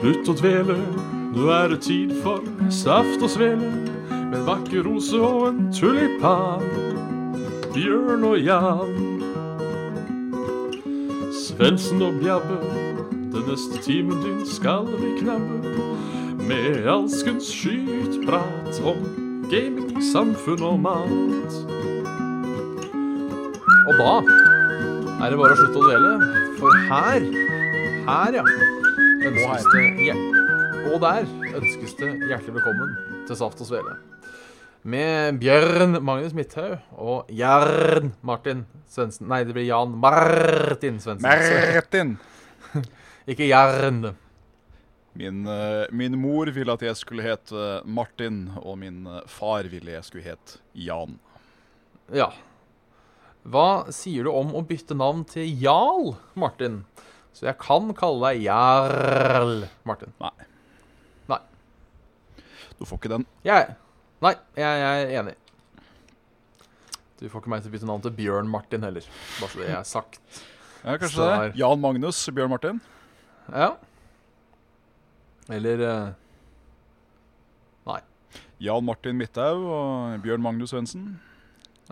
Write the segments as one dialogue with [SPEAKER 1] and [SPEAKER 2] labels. [SPEAKER 1] Slutt å dvele, nå er det tid for saft og svele. Med en vakker rose og en tulipan. Bjørn og Jan. Svendsen og Bjabbe, den neste timen din skal vi knabbe. Med alskens skytprat om gaming, samfunn og mat.
[SPEAKER 2] Og da er det bare å slutte å dvele, for her, her ja, ønskes det hjer- Og der ønskes det hjertelig velkommen til Saft og Svele. Med Bjørn Magnus Midthaug og Jern Martin Svendsen. Nei, det blir Jan Martin Svendsen.
[SPEAKER 3] Martin!
[SPEAKER 2] Ikke Jern.
[SPEAKER 3] Min, eh, min mor ville at jeg skulle hete eh, Martin, og min eh, far ville jeg skulle hete Jan.
[SPEAKER 2] Ja. Hva sier du om å bytte navn til Jarl Martin? Så jeg kan kalle deg Jarl Martin.
[SPEAKER 3] Nei.
[SPEAKER 2] Nei.
[SPEAKER 3] Du får ikke den.
[SPEAKER 2] Jeg Nei, jeg, jeg er enig. Du får ikke meg til å bytte navn til Bjørn Martin heller. Bare så det er sagt.
[SPEAKER 3] Ja, kanskje
[SPEAKER 2] Star.
[SPEAKER 3] det. Jan Magnus Bjørn Martin.
[SPEAKER 2] Ja. Eller eh,
[SPEAKER 3] Jan Martin Midthaug og Bjørn Magnus Svendsen.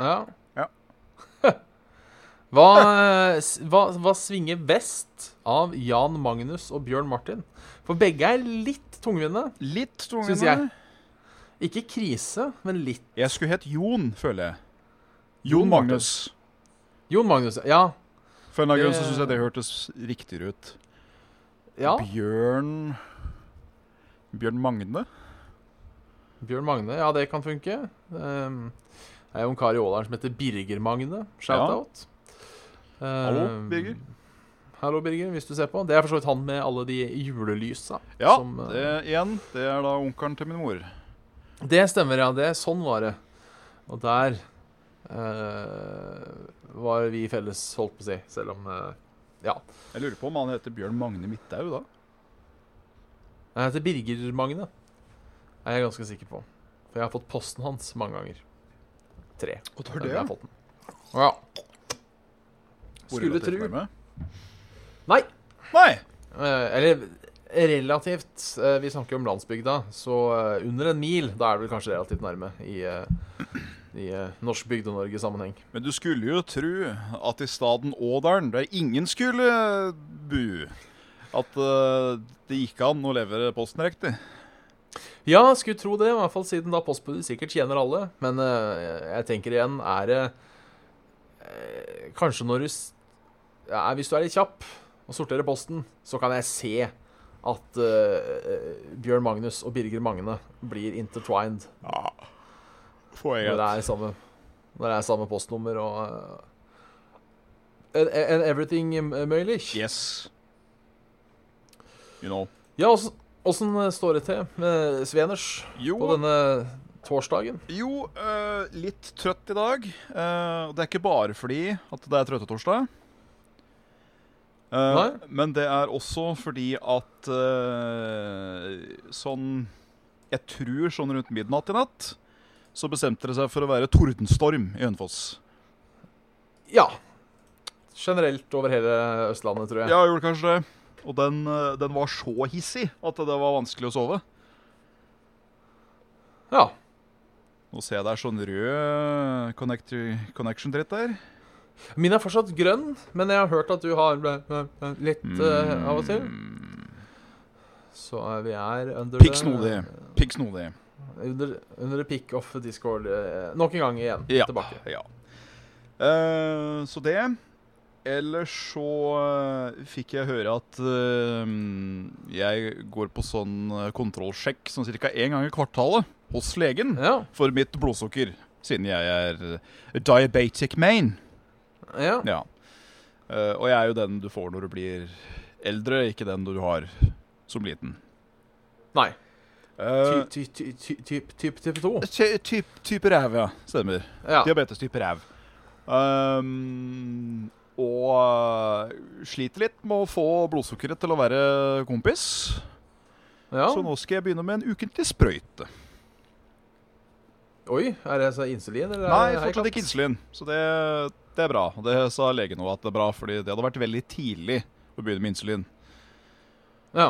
[SPEAKER 2] Ja.
[SPEAKER 3] Ja.
[SPEAKER 2] Hva, eh, s- hva, hva svinger best av Jan Magnus og Bjørn Martin? For begge er litt tungvinte.
[SPEAKER 3] Litt
[SPEAKER 2] Syns jeg. Ikke krise, men litt.
[SPEAKER 3] Jeg skulle hett Jon, føler jeg. Jon Magnus.
[SPEAKER 2] Jon Magnus, ja.
[SPEAKER 3] For en eller annen grunn så
[SPEAKER 2] Det-
[SPEAKER 3] syns jeg det hørtes riktigere ut.
[SPEAKER 2] ja.
[SPEAKER 3] Bjørn Bjørn Magne?
[SPEAKER 2] Bjørn Magne, ja, det kan funke. Ehm, det er jo en kar i Ålaren som heter Birger Magne.
[SPEAKER 3] Ja.
[SPEAKER 2] Shout-out. Ehm,
[SPEAKER 3] Hallo, Birger.
[SPEAKER 2] Hallo, Birger, hvis du ser på. Det er for så vidt han med alle de julelysa.
[SPEAKER 3] Ja,
[SPEAKER 2] som, eh,
[SPEAKER 3] det, igjen. Det er da onkelen til min mor.
[SPEAKER 2] Det stemmer, ja. Det, sånn var det. Og der eh, var vi felles, holdt på å si. Selv om eh, Ja.
[SPEAKER 3] Jeg lurer på om han heter Bjørn Magne Midthaug, da.
[SPEAKER 2] Jeg heter Birger Magne. Er jeg ganske sikker på. For jeg har fått posten hans mange ganger. Tre.
[SPEAKER 3] Og
[SPEAKER 2] Men jeg har fått den. Ja. Skulle tru. Nei.
[SPEAKER 3] Nei!
[SPEAKER 2] Eh, eller relativt. eh, vi snakker om landsbygda, så eh, under en mil, da er det vel kanskje relativt nærme i, eh, i eh, norsk Bygde-Norge-sammenheng.
[SPEAKER 3] Men du skulle jo tru at i staden Ådalen, der ingen skulle bu, at eh, det gikk an å levere posten riktig.
[SPEAKER 2] Ja, skulle tro det, i hvert fall siden da postbudet sikkert tjener alle. Men eh, jeg tenker igjen, er det eh, Kanskje når du s- ja, Hvis du er litt kjapp og sorterer posten, så kan jeg se at eh, Bjørn Magnus og Birger Magne blir intertwined
[SPEAKER 3] Ja. Får jeg
[SPEAKER 2] Når det
[SPEAKER 3] rett.
[SPEAKER 2] er samme, når det er samme postnummer og eh, and, and everything eh, mulig.
[SPEAKER 3] Yes. You know.
[SPEAKER 2] Ja, åssen- åssen eh, står det til med Sveners
[SPEAKER 3] Jo,
[SPEAKER 2] på denne torsdagen?
[SPEAKER 3] jo eh, litt trøtt i dag. Eh, og det er ikke bare fordi at det er trøttetorsdag. Eh,
[SPEAKER 2] Nei.
[SPEAKER 3] men det er også fordi at eh, sånn Jeg tror sånn rundt midnatt i natt så bestemte det seg for å være tordenstorm i Hønefoss.
[SPEAKER 2] Ja. Generelt over hele Østlandet, tror jeg.
[SPEAKER 3] Ja, gjorde kanskje det. Og den, eh, den var så hissig at det var vanskelig å sove.
[SPEAKER 2] Ja.
[SPEAKER 3] Nå ser jeg det er sånn rød connect- connection-dritt der.
[SPEAKER 2] Min er fortsatt grønn, men jeg har hørt at du har eh, eh, litt eh,
[SPEAKER 3] Mm.
[SPEAKER 2] av og til. Så eh, vi er under eh,
[SPEAKER 3] Pikk snodig. Pikk snodig.
[SPEAKER 2] Under, under the pick of discord. eh, nok en gang igjen.
[SPEAKER 3] Ja.
[SPEAKER 2] Tilbake.
[SPEAKER 3] ja. Eh, så det. Ellers så eh, fikk jeg høre at eh, jeg går på sånn eh, kontrollsjekk sånn ca. én gang i kvartalet hos legen
[SPEAKER 2] Ja.
[SPEAKER 3] for mitt blodsukker, siden jeg er eh, diabetic man.
[SPEAKER 2] ja.
[SPEAKER 3] Ja. Eh, og jeg er jo den du får når du blir eldre, ikke den du har som liten.
[SPEAKER 2] Nei.
[SPEAKER 3] Eh,
[SPEAKER 2] Ty- ty- ty- ty- typ- typ- Type 2?
[SPEAKER 3] ty- typ- type ræv, ja. Stemmer.
[SPEAKER 2] Ja.
[SPEAKER 3] Diabetes type ræv. Ehm, og øh, sliter litt med å få blodsukkeret til å være kompis.
[SPEAKER 2] ja.
[SPEAKER 3] Så nå skal jeg begynne med en ukentlig sprøyte.
[SPEAKER 2] Oi, er det så insulin? Eller
[SPEAKER 3] Nei,
[SPEAKER 2] er det
[SPEAKER 3] fortsatt ikke insulin. Så det, det er bra. Og det sa legen òg at det er bra, fordi det hadde vært veldig tidlig å begynne med insulin.
[SPEAKER 2] Ja.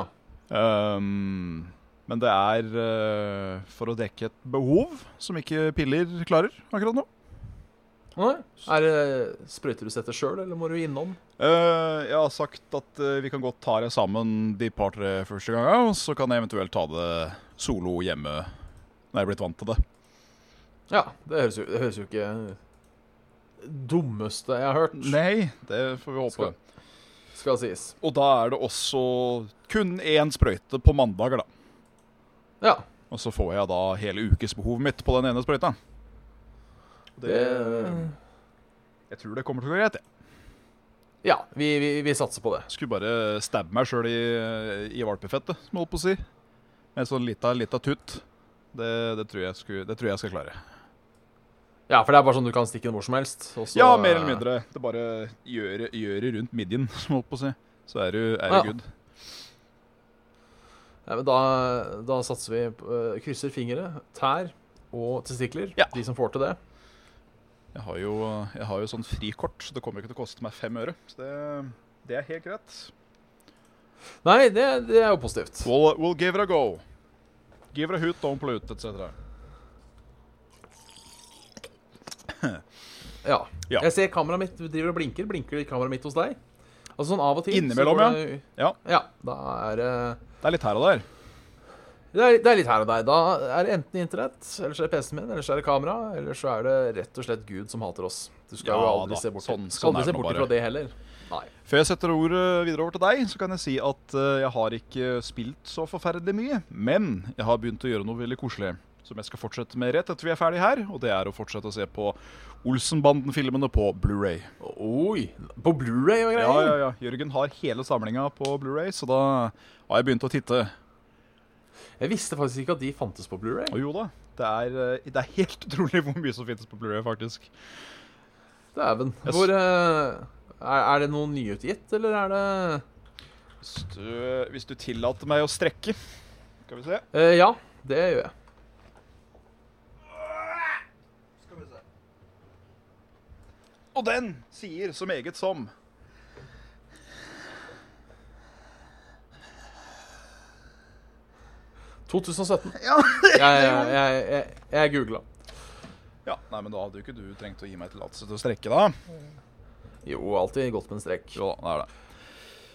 [SPEAKER 3] Ehm, men det er eh, for å dekke et behov som ikke piller klarer akkurat nå.
[SPEAKER 2] Nei. Er det sprøyter du setter sjøl, eller må du innom?
[SPEAKER 3] Eh, jeg har sagt at eh, vi kan godt ta det sammen de par-tre første gangene, og så kan jeg eventuelt ta det solo hjemme når jeg er blitt vant til det.
[SPEAKER 2] Ja, det høres jo, det høres jo ikke dummeste jeg har hørt,
[SPEAKER 3] Nei, det får vi håpe.
[SPEAKER 2] Skal- skal sies.
[SPEAKER 3] Og da er det også kun én sprøyte på mandager, da.
[SPEAKER 2] Ja.
[SPEAKER 3] Og så får jeg da hele ukesbehovet mitt på den ene sprøyta.
[SPEAKER 2] Det,
[SPEAKER 3] jeg tror det kommer til å gå greit. jeg.
[SPEAKER 2] ja, vi, vi, vi satser på det.
[SPEAKER 3] Skulle bare stabbe meg sjøl i, i valpefettet, som jeg holdt på å si. Med en sånn lita, lita tutt. Det, det, tror jeg skulle, det tror jeg skal klare.
[SPEAKER 2] Ja, for det er bare sånn du kan stikke den hvor som helst. og så-
[SPEAKER 3] Ja, mer eller mindre. Det bare gjør gjør det rundt midjen, som jeg holdt på å si. Så er du, er du
[SPEAKER 2] Ja.
[SPEAKER 3] good.
[SPEAKER 2] Nei, men da, da satser vi på- øh, Krysser fingre, tær og testikler.
[SPEAKER 3] Ja.
[SPEAKER 2] De som får til det.
[SPEAKER 3] Jeg har jo, jeg har jo sånn frikort, så det kommer ikke til å koste meg fem øre. Så det, det er helt greit.
[SPEAKER 2] Nei, det, det er jo positivt.
[SPEAKER 3] We'll, we'll give it a go. Give it a hoot, don't pollute, etc.
[SPEAKER 2] Ja.
[SPEAKER 3] Ja.
[SPEAKER 2] Jeg ser kameraet mitt driver og blinker. Blinker kameraet mitt hos deg? Altså sånn av og til. så
[SPEAKER 3] Innimellom,
[SPEAKER 2] går
[SPEAKER 3] ja.
[SPEAKER 2] det-
[SPEAKER 3] Ja.
[SPEAKER 2] ja. Da er det
[SPEAKER 3] Det er litt her og der.
[SPEAKER 2] Det er, det er litt her og der. Da er det enten internett, eller så er det PC-en min, eller så er det kamera, eller så er det rett og slett Gud som hater oss. Du skal
[SPEAKER 3] Ja
[SPEAKER 2] jo aldri
[SPEAKER 3] da,
[SPEAKER 2] se bort,
[SPEAKER 3] sånn-
[SPEAKER 2] skal
[SPEAKER 3] sånn
[SPEAKER 2] aldri
[SPEAKER 3] er
[SPEAKER 2] se
[SPEAKER 3] det
[SPEAKER 2] bort
[SPEAKER 3] bare.
[SPEAKER 2] fra det heller. Nei.
[SPEAKER 3] Før jeg setter ordet videre over til deg, så kan jeg si at eh, jeg har ikke spilt så forferdelig mye. Men jeg har begynt å gjøre noe veldig koselig, som jeg skal fortsette med rett etter vi er ferdig her. Og det er å fortsette å se på Olsenbanden-filmene på Blu-ray.
[SPEAKER 2] Oi! På Blu-ray og
[SPEAKER 3] Ja,
[SPEAKER 2] greier.
[SPEAKER 3] ja, ja. Jørgen har hele samlinga på Blu-ray, så da har jeg begynt å titte.
[SPEAKER 2] Jeg visste faktisk ikke at de fantes på Blu-ray.
[SPEAKER 3] Og jo da, det er, eh, det er helt utrolig hvor mye som finnes på Blu-ray, faktisk.
[SPEAKER 2] Dæven.
[SPEAKER 3] Jeg s-
[SPEAKER 2] Hvor eh, er, er det noe nyutgitt, eller er det
[SPEAKER 3] Hvis du, hvis du tillater meg å strekke Skal vi se.
[SPEAKER 2] Eh, Ja, det gjør jeg.
[SPEAKER 3] Og den sier så meget som Ja,
[SPEAKER 2] 2017. Jeg, jeg, jeg, jeg, jeg googla.
[SPEAKER 3] Ja, nei, men da hadde jo ikke du trengt å gi meg tillatelse til å strekke, da.
[SPEAKER 2] Jo, alltid godt med en strek.
[SPEAKER 3] Jo da, det er det.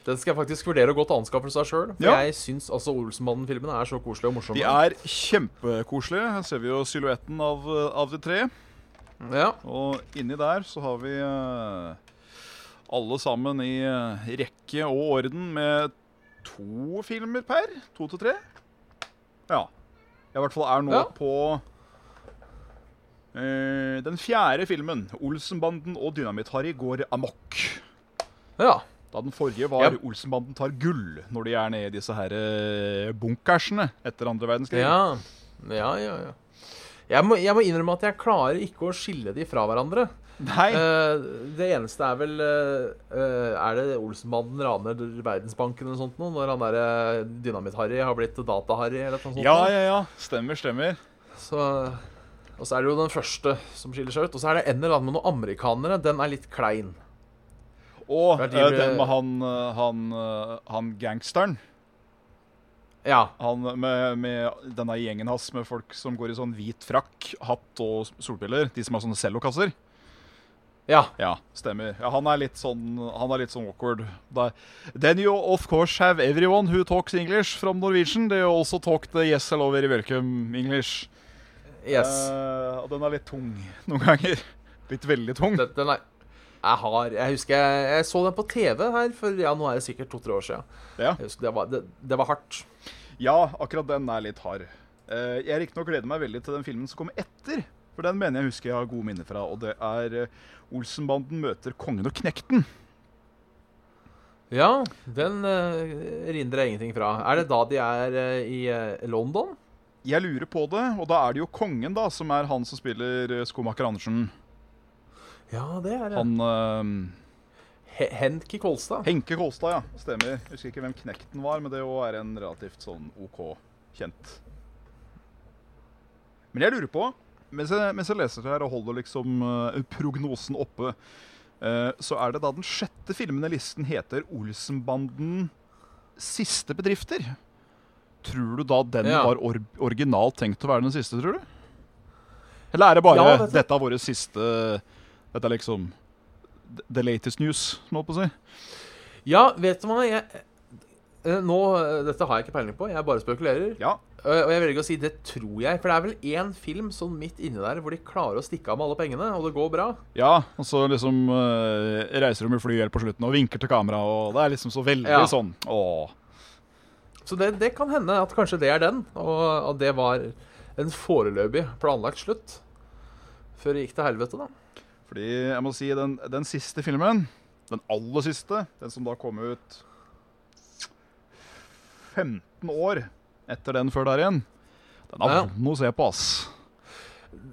[SPEAKER 2] Den skal jeg faktisk vurdere å gå til anskaffelse av sjøl. For
[SPEAKER 3] Ja.
[SPEAKER 2] jeg syns altså Olsenmannen-filmene er så koselige og morsomme.
[SPEAKER 3] De er kjempekoselige. Her ser vi jo silhuetten av, eh, av de tre.
[SPEAKER 2] Ja.
[SPEAKER 3] Og inni der så har vi eh, alle sammen i eh, rekke og orden med to filmer per. To til tre. Ja. Jeg i hvert fall er nå
[SPEAKER 2] Ja.
[SPEAKER 3] på eh, den fjerde filmen, 'Olsenbanden og Dynamitt-Harry går amok'.
[SPEAKER 2] Ja.
[SPEAKER 3] Da den forrige var
[SPEAKER 2] Ja.
[SPEAKER 3] 'Olsenbanden tar gull' når de er nede i disse her eh, bunkersene etter andre verdenskrig.
[SPEAKER 2] Ja, ja, ja. ja. Jeg, må, jeg må innrømme at jeg klarer ikke å skille de fra hverandre.
[SPEAKER 3] Nei,
[SPEAKER 2] Eh, det eneste er vel eh, eh, Er det Olsenmannen raner Verdensbanken eller noe sånt noe? Når han derre Dynamitt-Harry har blitt Data-Harry eller noe sånt?
[SPEAKER 3] ja,
[SPEAKER 2] noe?
[SPEAKER 3] ja, ja. Stemmer, stemmer.
[SPEAKER 2] Så, og så er det jo den første som skiller seg ut. Og så er det en eller annen med noen amerikanere. Den er litt klein.
[SPEAKER 3] Og
[SPEAKER 2] Ja, de
[SPEAKER 3] eh,
[SPEAKER 2] ble-
[SPEAKER 3] den med han, eh, han, eh, han gangsteren.
[SPEAKER 2] Ja.
[SPEAKER 3] Han med, med denne gjengen hans med folk som går i sånn hvit frakk, hatt og solbriller. De som har sånne cellokasser.
[SPEAKER 2] Ja.
[SPEAKER 3] Ja, stemmer. Ja, han er litt sånn, han er litt sånn awkward. Da- Then you of course have everyone who talks English from Norwegian. They also talk the yes, hello, very welcome English.
[SPEAKER 2] Yes.
[SPEAKER 3] Eh, og den er litt tung noen ganger. Litt veldig tung.
[SPEAKER 2] Den, den er jeg har, jeg husker jeg, jeg så den på TV her for ja, nå er det sikkert to-tre år siden.
[SPEAKER 3] Ja.
[SPEAKER 2] Jeg husker det var, det, det var hardt.
[SPEAKER 3] Ja, akkurat den er litt hard. Eh, jeg riktignok gleder meg veldig til den filmen som kommer etter. For den mener jeg husker jeg har gode minner fra, og det er eh, Olsenbanden møter Kongen og Knekten.
[SPEAKER 2] Ja, den uh, rindrer jeg ingenting fra. Er det da de er eh, i eh, London?
[SPEAKER 3] Jeg lurer på det, og da er det jo kongen, da, som er han som spiller eh, skomaker Andersen.
[SPEAKER 2] Ja, det er det.
[SPEAKER 3] Han eh,
[SPEAKER 2] He Henki Kolstad.
[SPEAKER 3] Henke Kolstad, ja. Stemmer. Jeg husker ikke hvem Knekten var, men det jo er en relativt sånn OK kjent. Men jeg lurer på, mens jeg, mens jeg leser det her og holder liksom eh, prognosen oppe, eh, så er det da den sjette filmen i listen heter 'Olsenbanden siste bedrifter'. Tror du da den
[SPEAKER 2] Ja.
[SPEAKER 3] var or originalt tenkt å være den siste, tror du? Eller er det bare
[SPEAKER 2] Ja, altså- vet du.
[SPEAKER 3] dette er våre siste Dette er liksom the latest news, må jeg på å si.
[SPEAKER 2] Ja, vet du hva? Jeg, eh, nå, eh, dette har jeg ikke peiling på, jeg bare spekulerer.
[SPEAKER 3] Ja.
[SPEAKER 2] Eh, Og jeg velger å si det tror jeg, for det er vel én film sånn midt inni der hvor de klarer å stikke av med alle pengene, og det går bra.
[SPEAKER 3] ja. Og så liksom eh, reiser de med fly helt på slutten og vinker til kamera, og det er liksom så veldig
[SPEAKER 2] Ja.
[SPEAKER 3] sånn Åh.
[SPEAKER 2] Så det, det kan hende at kanskje det er den, og at det var en foreløpig planlagt slutt. Før det gikk til helvete, da.
[SPEAKER 3] Fordi jeg må si den, den siste filmen, den aller siste, den som da kom ut 15 år etter den før der igjen, den er
[SPEAKER 2] Ja.
[SPEAKER 3] vond å se på, ass.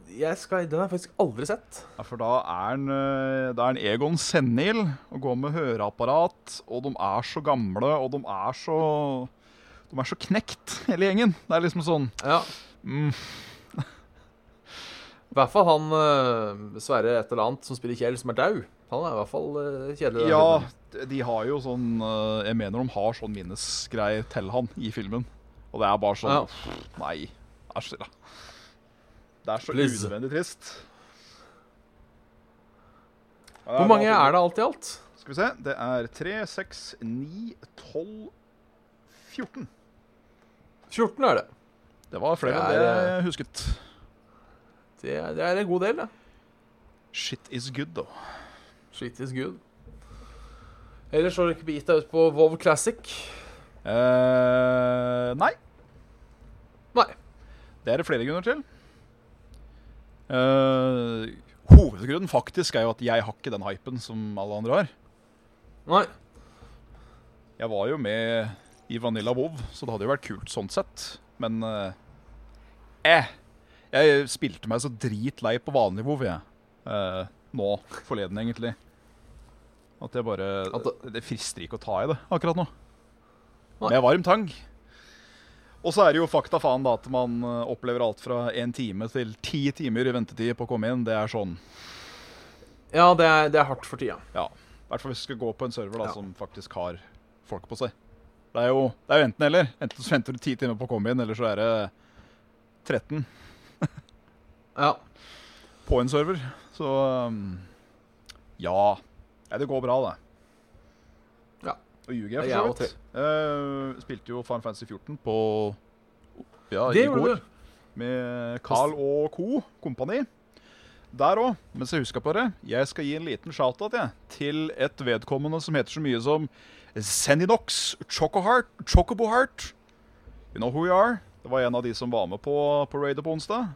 [SPEAKER 2] Jeg skal, den har jeg faktisk aldri sett.
[SPEAKER 3] Ja, for da er han eh, da er han Egon senil og går med høreapparat, og de er så gamle, og de er så De er så knekt, hele gjengen. Det er liksom sånn
[SPEAKER 2] Ja.
[SPEAKER 3] mm,
[SPEAKER 2] I hvert fall han eh, Sverre et eller annet som spiller Kjell, som er dau. Han er i hvert fall eh, kjedelig. i den
[SPEAKER 3] Ja,
[SPEAKER 2] filmen.
[SPEAKER 3] de har jo sånn eh, Jeg mener de har sånn minnesgreier til han i filmen. Og det er bare sånn
[SPEAKER 2] Ja.
[SPEAKER 3] pff, Nei. Æsj, da. Det er så
[SPEAKER 2] Please.
[SPEAKER 3] unødvendig trist.
[SPEAKER 2] Hvor mange er det alt i alt?
[SPEAKER 3] Skal vi se. Det er 3, 6, 9, 12, 14.
[SPEAKER 2] 14 er det.
[SPEAKER 3] Det var flere
[SPEAKER 2] Det
[SPEAKER 3] enn
[SPEAKER 2] er, eh,
[SPEAKER 3] det jeg husket.
[SPEAKER 2] Det er, det er en god del, det.
[SPEAKER 3] Shit is good, da.
[SPEAKER 2] Shit is good. Ellers har du ikke begitt deg ut på Vov Classic.
[SPEAKER 3] Eh, nei.
[SPEAKER 2] Nei.
[SPEAKER 3] Det er det flere grunner til. Eh, hovedgrunnen faktisk er jo at jeg har ikke den hypen som alle andre har.
[SPEAKER 2] Nei.
[SPEAKER 3] Jeg var jo med i Vanilla WoW, så det hadde jo vært kult sånn sett. Men eh, eh, jeg spilte meg så dritlei på vanlig WoW, jeg. Eh, nå forleden, egentlig. At jeg bare
[SPEAKER 2] At
[SPEAKER 3] det, frister ikke å ta i det akkurat nå.
[SPEAKER 2] Nei.
[SPEAKER 3] Med varm tang. Og så er det jo fakta faen da at man eh, opplever alt fra én time til ti timer i ventetid på å komme inn. Det er sånn
[SPEAKER 2] Ja, det er, det er hardt for tida.
[SPEAKER 3] ja. I hvert fall hvis du skal gå på en server da,
[SPEAKER 2] Ja.
[SPEAKER 3] som faktisk har folk på seg. Det er jo, det er jo enten eller. Enten så venter du ti timer på å komme inn, eller så er det 13
[SPEAKER 2] Ja.
[SPEAKER 3] på en server. Så um, ja. Nei, det går bra, det.
[SPEAKER 2] Ja.
[SPEAKER 3] Og ljuger
[SPEAKER 2] Det
[SPEAKER 3] jeg,
[SPEAKER 2] er jeg
[SPEAKER 3] for så vidt. Eh, spilte jo Farm Fantasy 14 på ja,
[SPEAKER 2] det
[SPEAKER 3] i går.
[SPEAKER 2] gjorde du.
[SPEAKER 3] med Carl og Co. kompani. Der òg, mens jeg husker på det. Jeg skal gi en liten shout-out jeg, til et vedkommende som heter så mye som Zeninox Chocoheart, Chocobo Heart. You know who you are. Det var en av de som var med på, på raidet på onsdag.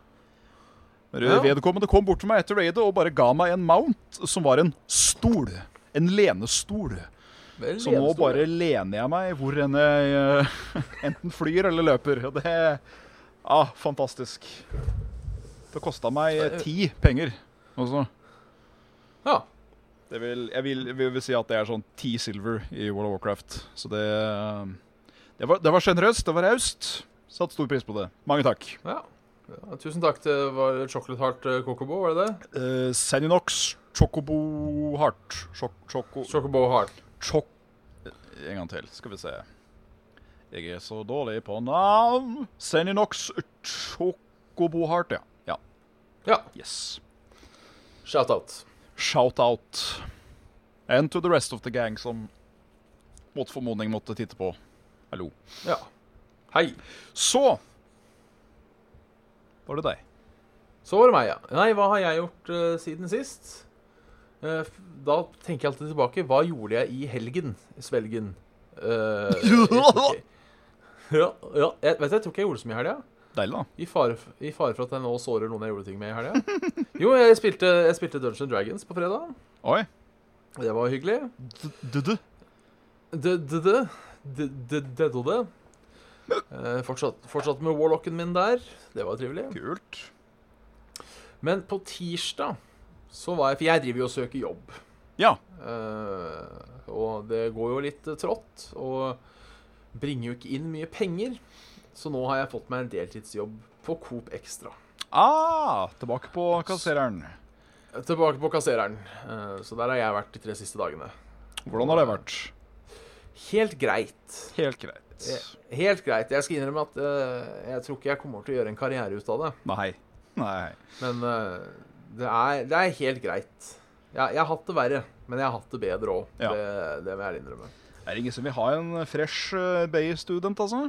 [SPEAKER 3] Men
[SPEAKER 2] Ja.
[SPEAKER 3] Vedkommende kom bort til meg etter raidet og bare ga meg en mount som var en stol. En lenestol.
[SPEAKER 2] Vel,
[SPEAKER 3] Så nå
[SPEAKER 2] enestående.
[SPEAKER 3] bare lener jeg meg hvor enn jeg eh, enten flyr eller løper. Og det er ah, fantastisk. Det kosta meg eh, ti penger også.
[SPEAKER 2] Ja.
[SPEAKER 3] Det vil, jeg vil, jeg vil si at det er sånn ti silver i World of Warcraft. Så det eh, Det var, det var sjenerøst, det var raust. Satt stor pris på det. Mange takk.
[SPEAKER 2] ja. ja. Tusen takk til var det Chocolate Heart eh, Cocobo, var det det?
[SPEAKER 3] Uh, Seninox Chocobo Heart. Chok, choco,
[SPEAKER 2] Chocobo Heart.
[SPEAKER 3] Chok... En gang til, skal vi se. Jeg er så dårlig på navn. Seninox Chocobohart, ja. ja.
[SPEAKER 2] Ja.
[SPEAKER 3] Yes.
[SPEAKER 2] Shout-out.
[SPEAKER 3] Shout-out. And to the rest of the gang som mot formodning måtte titte på. Hallo.
[SPEAKER 2] Ja. Hei.
[SPEAKER 3] Så var det deg.
[SPEAKER 2] Så var det meg, ja. Nei, hva har jeg gjort eh, siden sist? Eh, f- da tenker jeg alltid tilbake. Hva gjorde jeg i helgen? Svelgen. Eh, jeg tror ikke- ja, ja, jeg, vet du, jeg tror ikke jeg gjorde så mye i helga.
[SPEAKER 3] Deilig, da.
[SPEAKER 2] I fare, f- I fare for at jeg nå sårer noen jeg gjorde ting med i helga. Jo, jeg spilte, jeg spilte Dungeons and Dragons på fredag.
[SPEAKER 3] Oi.
[SPEAKER 2] Det var hyggelig.
[SPEAKER 3] Du-du.
[SPEAKER 2] D-d-d. D-d-d-d-d. Eh, Fortsatt, fortsatt med warlocken min der. Det var trivelig.
[SPEAKER 3] Kult.
[SPEAKER 2] Men på tirsdag så var jeg For jeg driver jo og søker jobb.
[SPEAKER 3] Ja.
[SPEAKER 2] Eh, og det går jo litt eh, trått, og bringer jo ikke inn mye penger. Så nå har jeg fått meg en deltidsjobb på Coop Extra.
[SPEAKER 3] Ah, tilbake på kassereren.
[SPEAKER 2] Tilbake på kassereren. Eh, så der har jeg vært de tre siste dagene.
[SPEAKER 3] Hvordan har det vært?
[SPEAKER 2] Helt greit. Eh,
[SPEAKER 3] Helt greit. greit.
[SPEAKER 2] Helt greit. Jeg skal innrømme at eh, jeg tror ikke jeg kommer til å gjøre en karriere ut av det.
[SPEAKER 3] Nei. Nei.
[SPEAKER 2] Men eh, det, er, det er helt greit. Jeg, jeg har hatt det verre, men jeg har hatt det bedre òg.
[SPEAKER 3] Ja.
[SPEAKER 2] Det, det vil jeg innrømme.
[SPEAKER 3] Er det ingen som vil ha en fresh eh, BI-student, altså?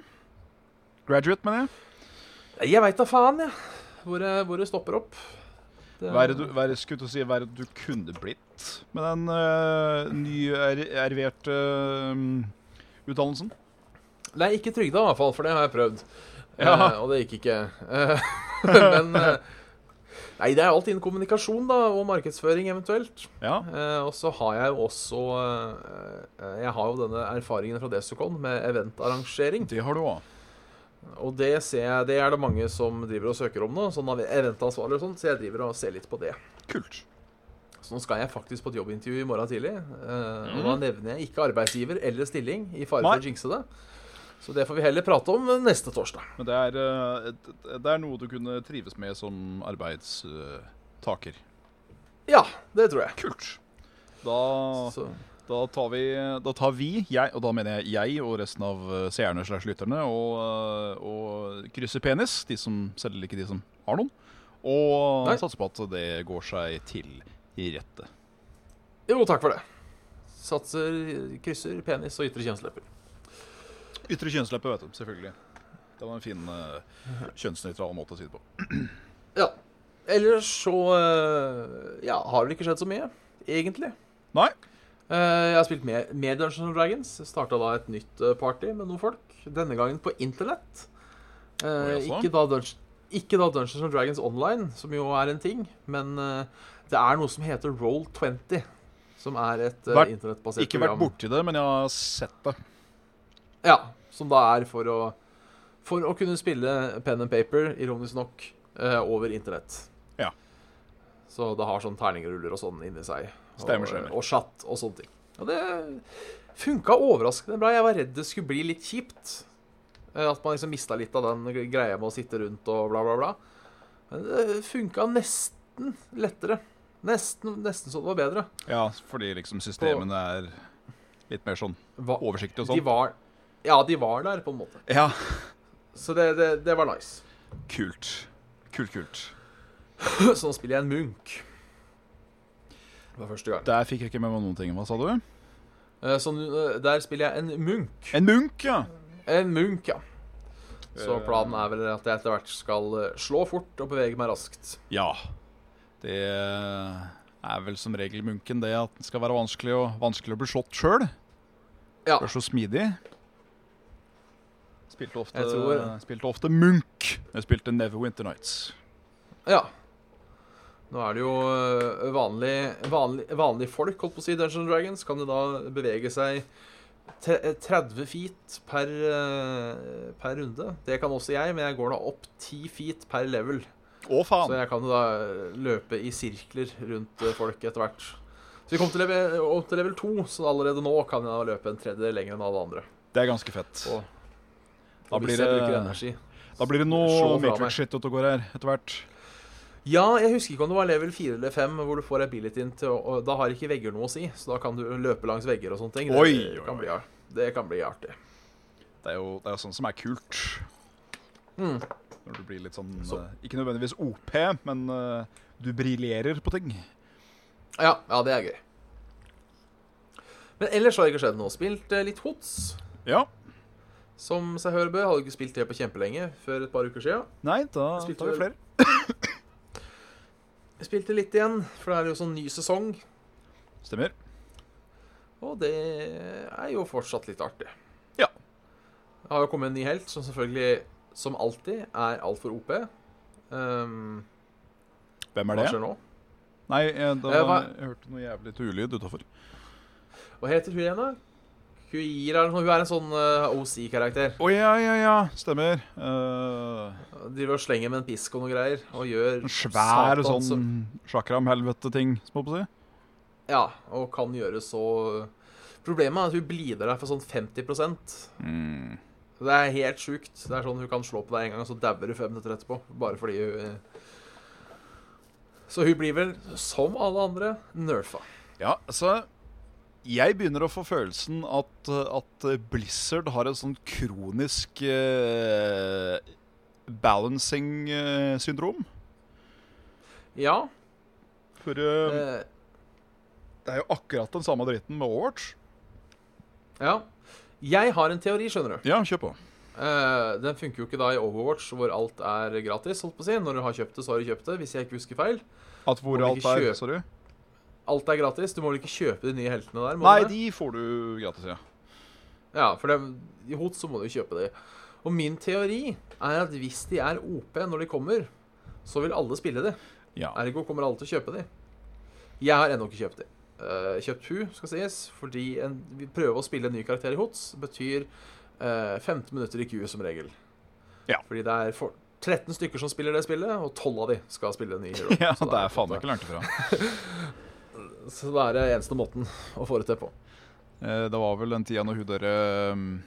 [SPEAKER 3] Graduate, mener jeg.
[SPEAKER 2] Jeg veit da faen, jeg. Hvor, jeg- hvor det stopper opp. Det-
[SPEAKER 3] Hva er det du, hva er det, skulle til å si, hva er det du kunne blitt med den uh, nyerverte eh, utdannelsen?
[SPEAKER 2] Nei, ikke trygda i hvert fall, for det har jeg prøvd.
[SPEAKER 3] Ja.
[SPEAKER 2] Eh, og det gikk ikke. Eh, men eh, Nei, det er alt innen kommunikasjon da, og markedsføring eventuelt.
[SPEAKER 3] Ja.
[SPEAKER 2] Eh, og så har jeg jo også eh, eh, Jeg har jo denne erfaringen fra Desicon med eventarrangering.
[SPEAKER 3] Det har du òg.
[SPEAKER 2] Og det ser jeg, det er det mange som driver og søker om nå, sånn av eventansvarlig og sånn, så jeg driver og ser litt på det.
[SPEAKER 3] Kult.
[SPEAKER 2] Så nå skal jeg faktisk på et jobbintervju i morgen tidlig. eh, Og da nevner jeg ikke arbeidsgiver eller stilling, i fare for
[SPEAKER 3] Mhm. Nei.
[SPEAKER 2] å jinxe det. Så det får vi heller prate om eh, neste torsdag.
[SPEAKER 3] Men det er, eh, et- et- det er noe du kunne trives med som arbeidstaker.
[SPEAKER 2] Ja, det tror jeg.
[SPEAKER 3] Kult. Da
[SPEAKER 2] Så,
[SPEAKER 3] Da tar vi, da tar vi jeg, og da mener jeg jeg og resten av eh, seerne slags lytterne, og, eh, og krysser penis, de som selv ikke de som har noen, og
[SPEAKER 2] Nei.
[SPEAKER 3] satser på at det går seg til i rette.
[SPEAKER 2] jo, takk for det. Satser, krysser, penis og ytre kjønnslepper.
[SPEAKER 3] Ytre kjønnsleppe, vet du, selvfølgelig. Det var en fin eh, kjønnsnøytral måte å si det på.
[SPEAKER 2] Ja. Ellers så eh, ja, har det ikke skjedd så mye, egentlig.
[SPEAKER 3] Nei,
[SPEAKER 2] Eh, Jeg har spilt mer, mer Dungeons and Dragons. Starta da et nytt eh, party med noen folk. Denne gangen på internett. Eh,
[SPEAKER 3] Å, jaså.
[SPEAKER 2] ikke, da Dunge- ikke da Dungeons and Dragons online, som jo er en ting, men eh, det er noe som heter Roll20. Som er et eh,
[SPEAKER 3] Vært-
[SPEAKER 2] internettbasert
[SPEAKER 3] ikke vært
[SPEAKER 2] program.
[SPEAKER 3] borti det, men jeg har sett det.
[SPEAKER 2] Ja, som da er for å, for å kunne spille pen and paper, ironisk nok, eh, over internett.
[SPEAKER 3] Ja.
[SPEAKER 2] Så det har sånn terningruller og sånn inni seg. Og,
[SPEAKER 3] Stemmer, stemmer.
[SPEAKER 2] og chat og sånne ting. Og det funka overraskende bra. Jeg var redd det skulle bli litt kjipt. eh, At man liksom mista litt av den greia med å sitte rundt og bla, bla, bla. Men det funka nesten lettere. Nesten, nesten så det var bedre.
[SPEAKER 3] Ja, fordi liksom systemene er litt mer sånn
[SPEAKER 2] Hva-
[SPEAKER 3] oversiktlig og
[SPEAKER 2] de
[SPEAKER 3] sånn.
[SPEAKER 2] var, ja, de var der, på en måte.
[SPEAKER 3] Ja,
[SPEAKER 2] Så det, det, det var nice.
[SPEAKER 3] kult. Kult, kult.
[SPEAKER 2] Så nå spiller jeg en munk. Det var første gang.
[SPEAKER 3] Der fikk jeg ikke med meg noen ting. Hva sa du?
[SPEAKER 2] Eh, Så nå, eh, der spiller jeg en munk.
[SPEAKER 3] En munk, ja.
[SPEAKER 2] En munk, ja. Så
[SPEAKER 3] Eh.
[SPEAKER 2] planen er vel at jeg etter hvert skal eh, slå fort og bevege meg raskt.
[SPEAKER 3] Ja. Det er vel som regel munken det at den skal være vanskelig, å- vanskelig å bli slått sjøl.
[SPEAKER 2] Ja.
[SPEAKER 3] Du er så smidig. Spilte ofte,
[SPEAKER 2] Jeg tror-
[SPEAKER 3] spilte ofte munk. Jeg spilte Neverwinter Nights.
[SPEAKER 2] Ja. Nå er det jo eh, vanlig, vanlig, vanlig folk, holdt på å si, Dungeons and Dragons, kan jo da bevege seg tre- eh, 30 feet per, eh, per runde. Det kan også jeg, men jeg går da opp 10 feet per level.
[SPEAKER 3] Å,
[SPEAKER 2] Så
[SPEAKER 3] faen!
[SPEAKER 2] jeg kan jo da eh, løpe i sirkler rundt eh, folk etter hvert. Så vi kom til level, opp til level 2, så allerede nå kan jeg da løpe en tredjedel lenger enn alle andre.
[SPEAKER 3] Det er ganske fett.
[SPEAKER 2] Og-
[SPEAKER 3] Da
[SPEAKER 2] Og
[SPEAKER 3] blir
[SPEAKER 2] hvis jeg
[SPEAKER 3] det-
[SPEAKER 2] bruker energi.
[SPEAKER 3] Da blir det noe
[SPEAKER 2] slå fra
[SPEAKER 3] Matrix-shit ute og går her etter hvert.
[SPEAKER 2] Ja, jeg husker ikke om det var level 4 eller 5 hvor du får abilityen til å og Da har ikke vegger noe å si, så da kan du løpe langs vegger og sånne ting. Det,
[SPEAKER 3] Oi, oi,
[SPEAKER 2] kan,
[SPEAKER 3] oi.
[SPEAKER 2] bli, ar- det kan bli artig.
[SPEAKER 3] Det er jo det er jo sånn som er kult. Hmm.
[SPEAKER 2] Mm.
[SPEAKER 3] Når du blir litt sånn
[SPEAKER 2] Så-
[SPEAKER 3] eh, Ikke nødvendigvis OP, men eh, du briljerer på ting.
[SPEAKER 2] Ja, ja, det er gøy. Men ellers har det ikke skjedd noe. Spilt eh, litt hots,
[SPEAKER 3] Ja.
[SPEAKER 2] som seg hør og bør. Hadde ikke spilt det på kjempelenge, før et par uker sia.
[SPEAKER 3] Nei, da
[SPEAKER 2] Spilte
[SPEAKER 3] tar vi
[SPEAKER 2] vel-
[SPEAKER 3] flere.
[SPEAKER 2] Spilte litt igjen, for det er jo sånn ny sesong.
[SPEAKER 3] Stemmer.
[SPEAKER 2] Og det er jo fortsatt litt artig.
[SPEAKER 3] Ja.
[SPEAKER 2] Det har jo kommet en ny helt, som selvfølgelig, som alltid, er altfor OP. Um,
[SPEAKER 3] Hvem er
[SPEAKER 2] hva
[SPEAKER 3] det?
[SPEAKER 2] skjer nå?
[SPEAKER 3] Nei, eh, det
[SPEAKER 2] Eh,
[SPEAKER 3] var,
[SPEAKER 2] hva-
[SPEAKER 3] jeg hørte noe jævlig til ulyd utafor.
[SPEAKER 2] Hva heter hun igjen, da? Kuira eller noe? Hun er en sånn eh, OC-karakter.
[SPEAKER 3] Å ja, ja, ja. Stemmer. Eh,
[SPEAKER 2] Driver og slenger med en pisk og noe greier. Og gjør
[SPEAKER 3] en svær
[SPEAKER 2] satan så-
[SPEAKER 3] sånn sjakram-helvete-ting, må jeg på å si.
[SPEAKER 2] Ja, og kan gjøre så Problemet er at hun blider deg for sånn 50
[SPEAKER 3] Mm.
[SPEAKER 2] Det er helt sjukt. Det er sånn Hun kan slå på deg en gang, og så dauer du fem minutter etterpå. Bare fordi hun eh. Så hun blir vel, som alle andre, nerfa.
[SPEAKER 3] Ja, altså Jeg begynner å få følelsen at, at Blizzard har et sånn kronisk eh, balancing-syndrom.
[SPEAKER 2] Ja.
[SPEAKER 3] For eh,
[SPEAKER 2] eh,
[SPEAKER 3] det er jo akkurat den samme dritten med Overwatch.
[SPEAKER 2] ja. Jeg har en teori, skjønner du.
[SPEAKER 3] Ja, kjør på.
[SPEAKER 2] Eh, den funker jo ikke da i Overwatch, hvor alt er gratis. holdt på å si. Når du har kjøpt det, så har du kjøpt det. Hvis jeg ikke husker feil.
[SPEAKER 3] At
[SPEAKER 2] Må
[SPEAKER 3] hvor
[SPEAKER 2] vi
[SPEAKER 3] alt
[SPEAKER 2] ikke
[SPEAKER 3] er
[SPEAKER 2] kjøpe-
[SPEAKER 3] Sorry.
[SPEAKER 2] Alt er gratis. Du må vel ikke kjøpe de nye heltene der? må
[SPEAKER 3] Nei,
[SPEAKER 2] du det?
[SPEAKER 3] de får du gratis, ja.
[SPEAKER 2] Ja, for det, i hot så må du jo kjøpe de. Og min teori er at hvis de er OP når de kommer, så vil alle spille de.
[SPEAKER 3] Ja.
[SPEAKER 2] Ergo kommer alle til å kjøpe de. Jeg har ennå ikke kjøpt de. Eh, kjøpt Hu, skal sies, fordi en, vi prøver å spille en ny karakter i HOTS betyr eh, 15 minutter i Q som regel.
[SPEAKER 3] Ja.
[SPEAKER 2] Fordi det er for 13 stykker som spiller det spillet, og 12 av de skal spille en ny hero.
[SPEAKER 3] Ja,
[SPEAKER 2] Så
[SPEAKER 3] det er
[SPEAKER 2] på en
[SPEAKER 3] faen meg ikke langt ifra.
[SPEAKER 2] måte- Så det er det eneste måten å få det til på.
[SPEAKER 3] Eh, Det var vel den tida når hun derre um,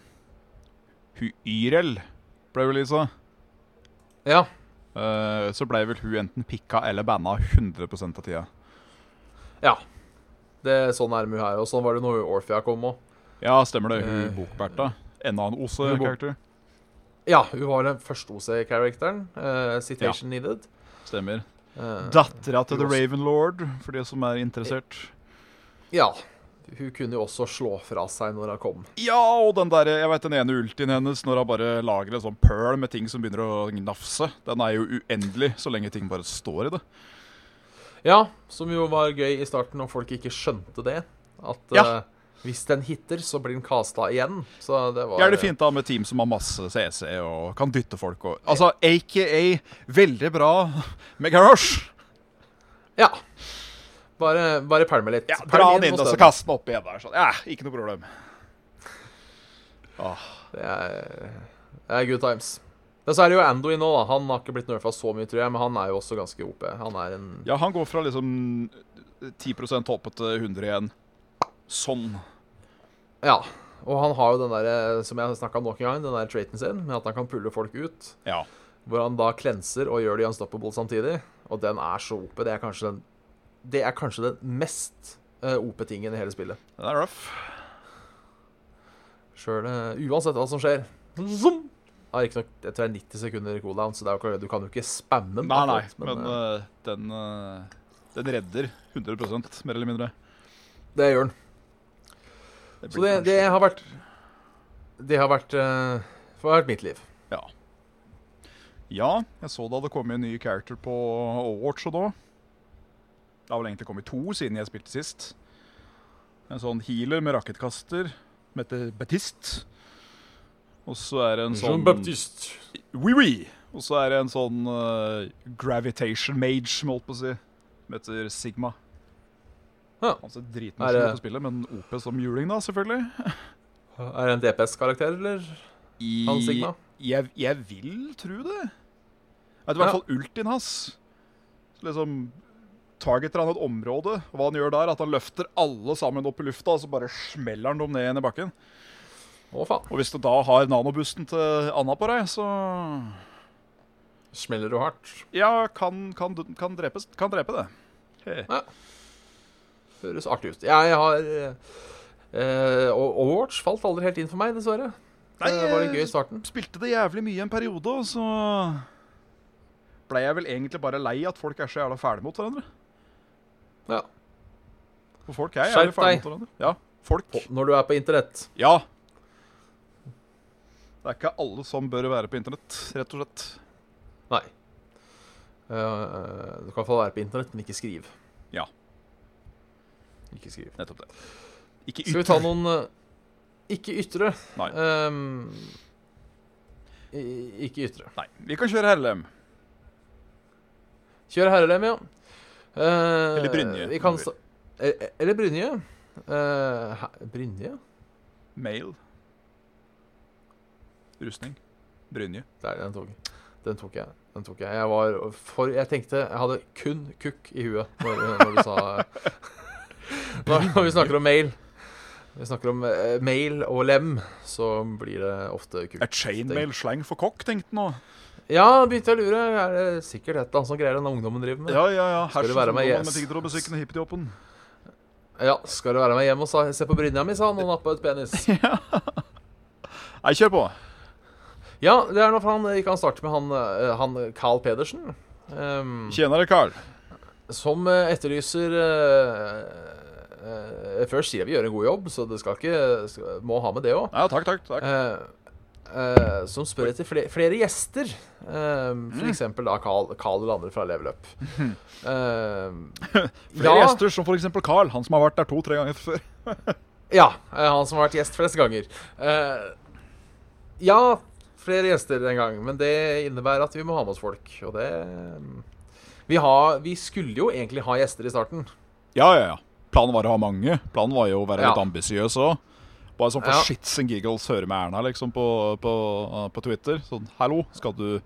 [SPEAKER 3] Hun Yrel ble releasa.
[SPEAKER 2] Ja,
[SPEAKER 3] Eh, så blei vel hun enten pikka eller banna 100 av tida.
[SPEAKER 2] det, sånn er det med Hu her, og sånn var det når Orphea kom òg.
[SPEAKER 3] Ja, stemmer det. Hun
[SPEAKER 2] Eh,
[SPEAKER 3] Bokberta. Enda en
[SPEAKER 2] hun Bok-
[SPEAKER 3] OSE-karakter.
[SPEAKER 2] Ja, hun var den første OC-characteren. eh, citation needed.
[SPEAKER 3] Stemmer.
[SPEAKER 2] Eh,
[SPEAKER 3] Dattera
[SPEAKER 2] hun
[SPEAKER 3] til The
[SPEAKER 2] også-
[SPEAKER 3] Ravenlord, for de som er interessert.
[SPEAKER 2] Ja. Hun kunne jo også slå fra seg når hun kom.
[SPEAKER 3] Ja, og den der, jeg vet den ene ultien hennes når han bare lager en sånn pearl med ting som begynner å gnafse. Den er jo uendelig så lenge ting bare står i det.
[SPEAKER 2] Ja, som jo var gøy i starten, og folk ikke skjønte det. At
[SPEAKER 3] Ja.
[SPEAKER 2] eh, hvis den hitter, så blir den kasta igjen. Så det var
[SPEAKER 3] Ja, er det fint da med team som har masse CC og kan dytte folk og Altså AKA veldig bra med garasje.
[SPEAKER 2] Ja. Bare, bare pælme litt.
[SPEAKER 3] Ja,
[SPEAKER 2] Pælm
[SPEAKER 3] dra den inn og så
[SPEAKER 2] stedet.
[SPEAKER 3] kaste den opp igjen der. Sånn. Ja, ikke noe problem. Åh,
[SPEAKER 2] Det er, det er good times. Men så er det jo Ando i nå, da. Han har ikke blitt nerfa så mye, tror jeg, men han er jo også ganske OP. Han er en
[SPEAKER 3] Ja, han går fra liksom 10 toppet til 100 igjen. Sånn.
[SPEAKER 2] Ja, og han har jo den der, eh, som jeg snakket om nok en gang, den der traiten sin, med at han kan pulle folk ut,
[SPEAKER 3] Ja.
[SPEAKER 2] hvor han da klenser og gjør de unstoppable samtidig, og den er så OP, det er kanskje den, det er kanskje den mest eh, OP-tingen i hele spillet.
[SPEAKER 3] Den er rough.
[SPEAKER 2] Selv, eh, uansett hva som skjer, zoom! Ja, ikke nok, jeg tror det er 90 sekunder cooldown, så det er jo ikke, du kan jo ikke spamme den.
[SPEAKER 3] Nei, nei,
[SPEAKER 2] akkurat,
[SPEAKER 3] men
[SPEAKER 2] eh,
[SPEAKER 3] eh, den, eh, den redder 100 mer eller mindre.
[SPEAKER 2] det gjør den.
[SPEAKER 3] Det
[SPEAKER 2] Så
[SPEAKER 3] eh, blir
[SPEAKER 2] det,
[SPEAKER 3] kanskje-
[SPEAKER 2] det har vært, det har vært, eh, det har vært mitt liv.
[SPEAKER 3] Ja, jeg så det hadde kommet en ny character på Overwatch og da. Det har vel egentlig kommet to siden jeg spilte sist. En sånn healer med rakettkaster som heter Batist. Og så er det en sånn
[SPEAKER 1] Jean-Baptiste.
[SPEAKER 3] Oui, oui. Og så er det en sånn eh, gravitation mage, som jeg holdt på å si, som heter Sigma.
[SPEAKER 2] Ja.
[SPEAKER 3] Han ser
[SPEAKER 2] Er
[SPEAKER 3] dritmorsom
[SPEAKER 2] det-
[SPEAKER 3] ut på spillet, men OP som juling, da, selvfølgelig.
[SPEAKER 2] Er det en DPS-karakter, eller?
[SPEAKER 3] I-
[SPEAKER 2] Han Sigma?
[SPEAKER 3] Jeg, jeg vil tro det. Jeg vet i
[SPEAKER 2] Ja.
[SPEAKER 3] hvert fall ultien hans. Så liksom Targeter han et område, og hva han gjør der, at han løfter alle sammen opp i lufta, og så bare smeller han dem ned igjen i bakken.
[SPEAKER 2] Å faen,
[SPEAKER 3] Og hvis du da har nanobusten til Anna på deg, så
[SPEAKER 2] smeller du hardt.
[SPEAKER 3] Ja, kan, kan, kan, drepes, kan drepe det.
[SPEAKER 2] Høres artig ut. Jeg har eh, og Overwatch falt aldri helt inn for meg, dessverre. det var
[SPEAKER 3] eh,
[SPEAKER 2] litt gøy i starten.
[SPEAKER 3] spilte det jævlig mye en periode, og så ble jeg vel egentlig bare lei at folk er så jævla fæle mot hverandre.
[SPEAKER 2] Ja.
[SPEAKER 3] For folk er jævlig
[SPEAKER 2] Skjerp
[SPEAKER 3] fæle
[SPEAKER 2] deg.
[SPEAKER 3] mot hverandre. Ja, folk.
[SPEAKER 2] På- Når du er på internett.
[SPEAKER 3] Ja. Det er ikke alle som bør være på internett, rett og slett.
[SPEAKER 2] Nei. Eh, du kan i hvert fall være på internett, men ikke skriv.
[SPEAKER 3] Ja.
[SPEAKER 2] Ikke skriv.
[SPEAKER 3] Nettopp det. Ikke
[SPEAKER 2] Skal vi ta noen eh, ikke ytre?
[SPEAKER 3] Nei.
[SPEAKER 2] Ehm, i- ikke ytre.
[SPEAKER 3] Nei. Vi kan kjøre herrelem.
[SPEAKER 2] Kjør herrelem, ja. Eh,
[SPEAKER 3] Eller Brynje,
[SPEAKER 2] vi kan
[SPEAKER 3] om du vil.
[SPEAKER 2] sta- eh, Eller Brynje. Eh, hæ- Brynje?
[SPEAKER 3] Mail. Rustning. Brynje.
[SPEAKER 2] Der, den tok, den tok jeg. Den tok jeg. Jeg var for Jeg tenkte Jeg hadde kun kukk i huet når, når du sa Når når vi snakker om mail. Vi snakker om eh, mail og lem, så blir det ofte kukk.
[SPEAKER 3] Er chainmail slang for kokk, tenkte han nå.
[SPEAKER 2] Ja, begynte jeg å lure. Er det sikkert et eller annet som greier den ungdommen driver med?
[SPEAKER 3] Ja, ja, ja.
[SPEAKER 2] Skal det være med yes?
[SPEAKER 3] med tiggerobesykende hippidiopen.
[SPEAKER 2] Ja, skal du være med hjem og sa- se på brynja mi, sa han og nappa ut penis.
[SPEAKER 3] Nei, kjør på.
[SPEAKER 2] Ja, det er nå for han ikke han starter med han, eh, han Carl Pedersen. ehm,
[SPEAKER 3] Tjenere, Carl.
[SPEAKER 2] som eh, etterlyser eh, eh, Først sier jeg vi gjør en god jobb, så det skal ikke skal, Må ha med det òg.
[SPEAKER 3] Ja, takk, takk. takk.
[SPEAKER 2] som spør etter flere, flere gjester. Um,
[SPEAKER 3] Mm.
[SPEAKER 2] for eksempel da Carl, Carl eller andre fra Level Up. Eh,
[SPEAKER 3] Flere
[SPEAKER 2] ja.
[SPEAKER 3] gjester, som f.eks. Carl, han som har vært der to-tre ganger før.
[SPEAKER 2] Ja, eh, han som har vært gjest flest ganger. Eh, ja, flere gjester en gang, men det innebærer at vi må ha med oss folk, og det eh, vi, har, vi skulle jo egentlig ha gjester i starten.
[SPEAKER 3] Ja, ja, ja. Planen var å ha mange. Planen var jo å være
[SPEAKER 2] Ja.
[SPEAKER 3] litt ambisiøs òg. Bare sånn for
[SPEAKER 2] Ja.
[SPEAKER 3] shits and giggles høre med Erna liksom på, på, på Twitter. Sånn 'Hallo, skal du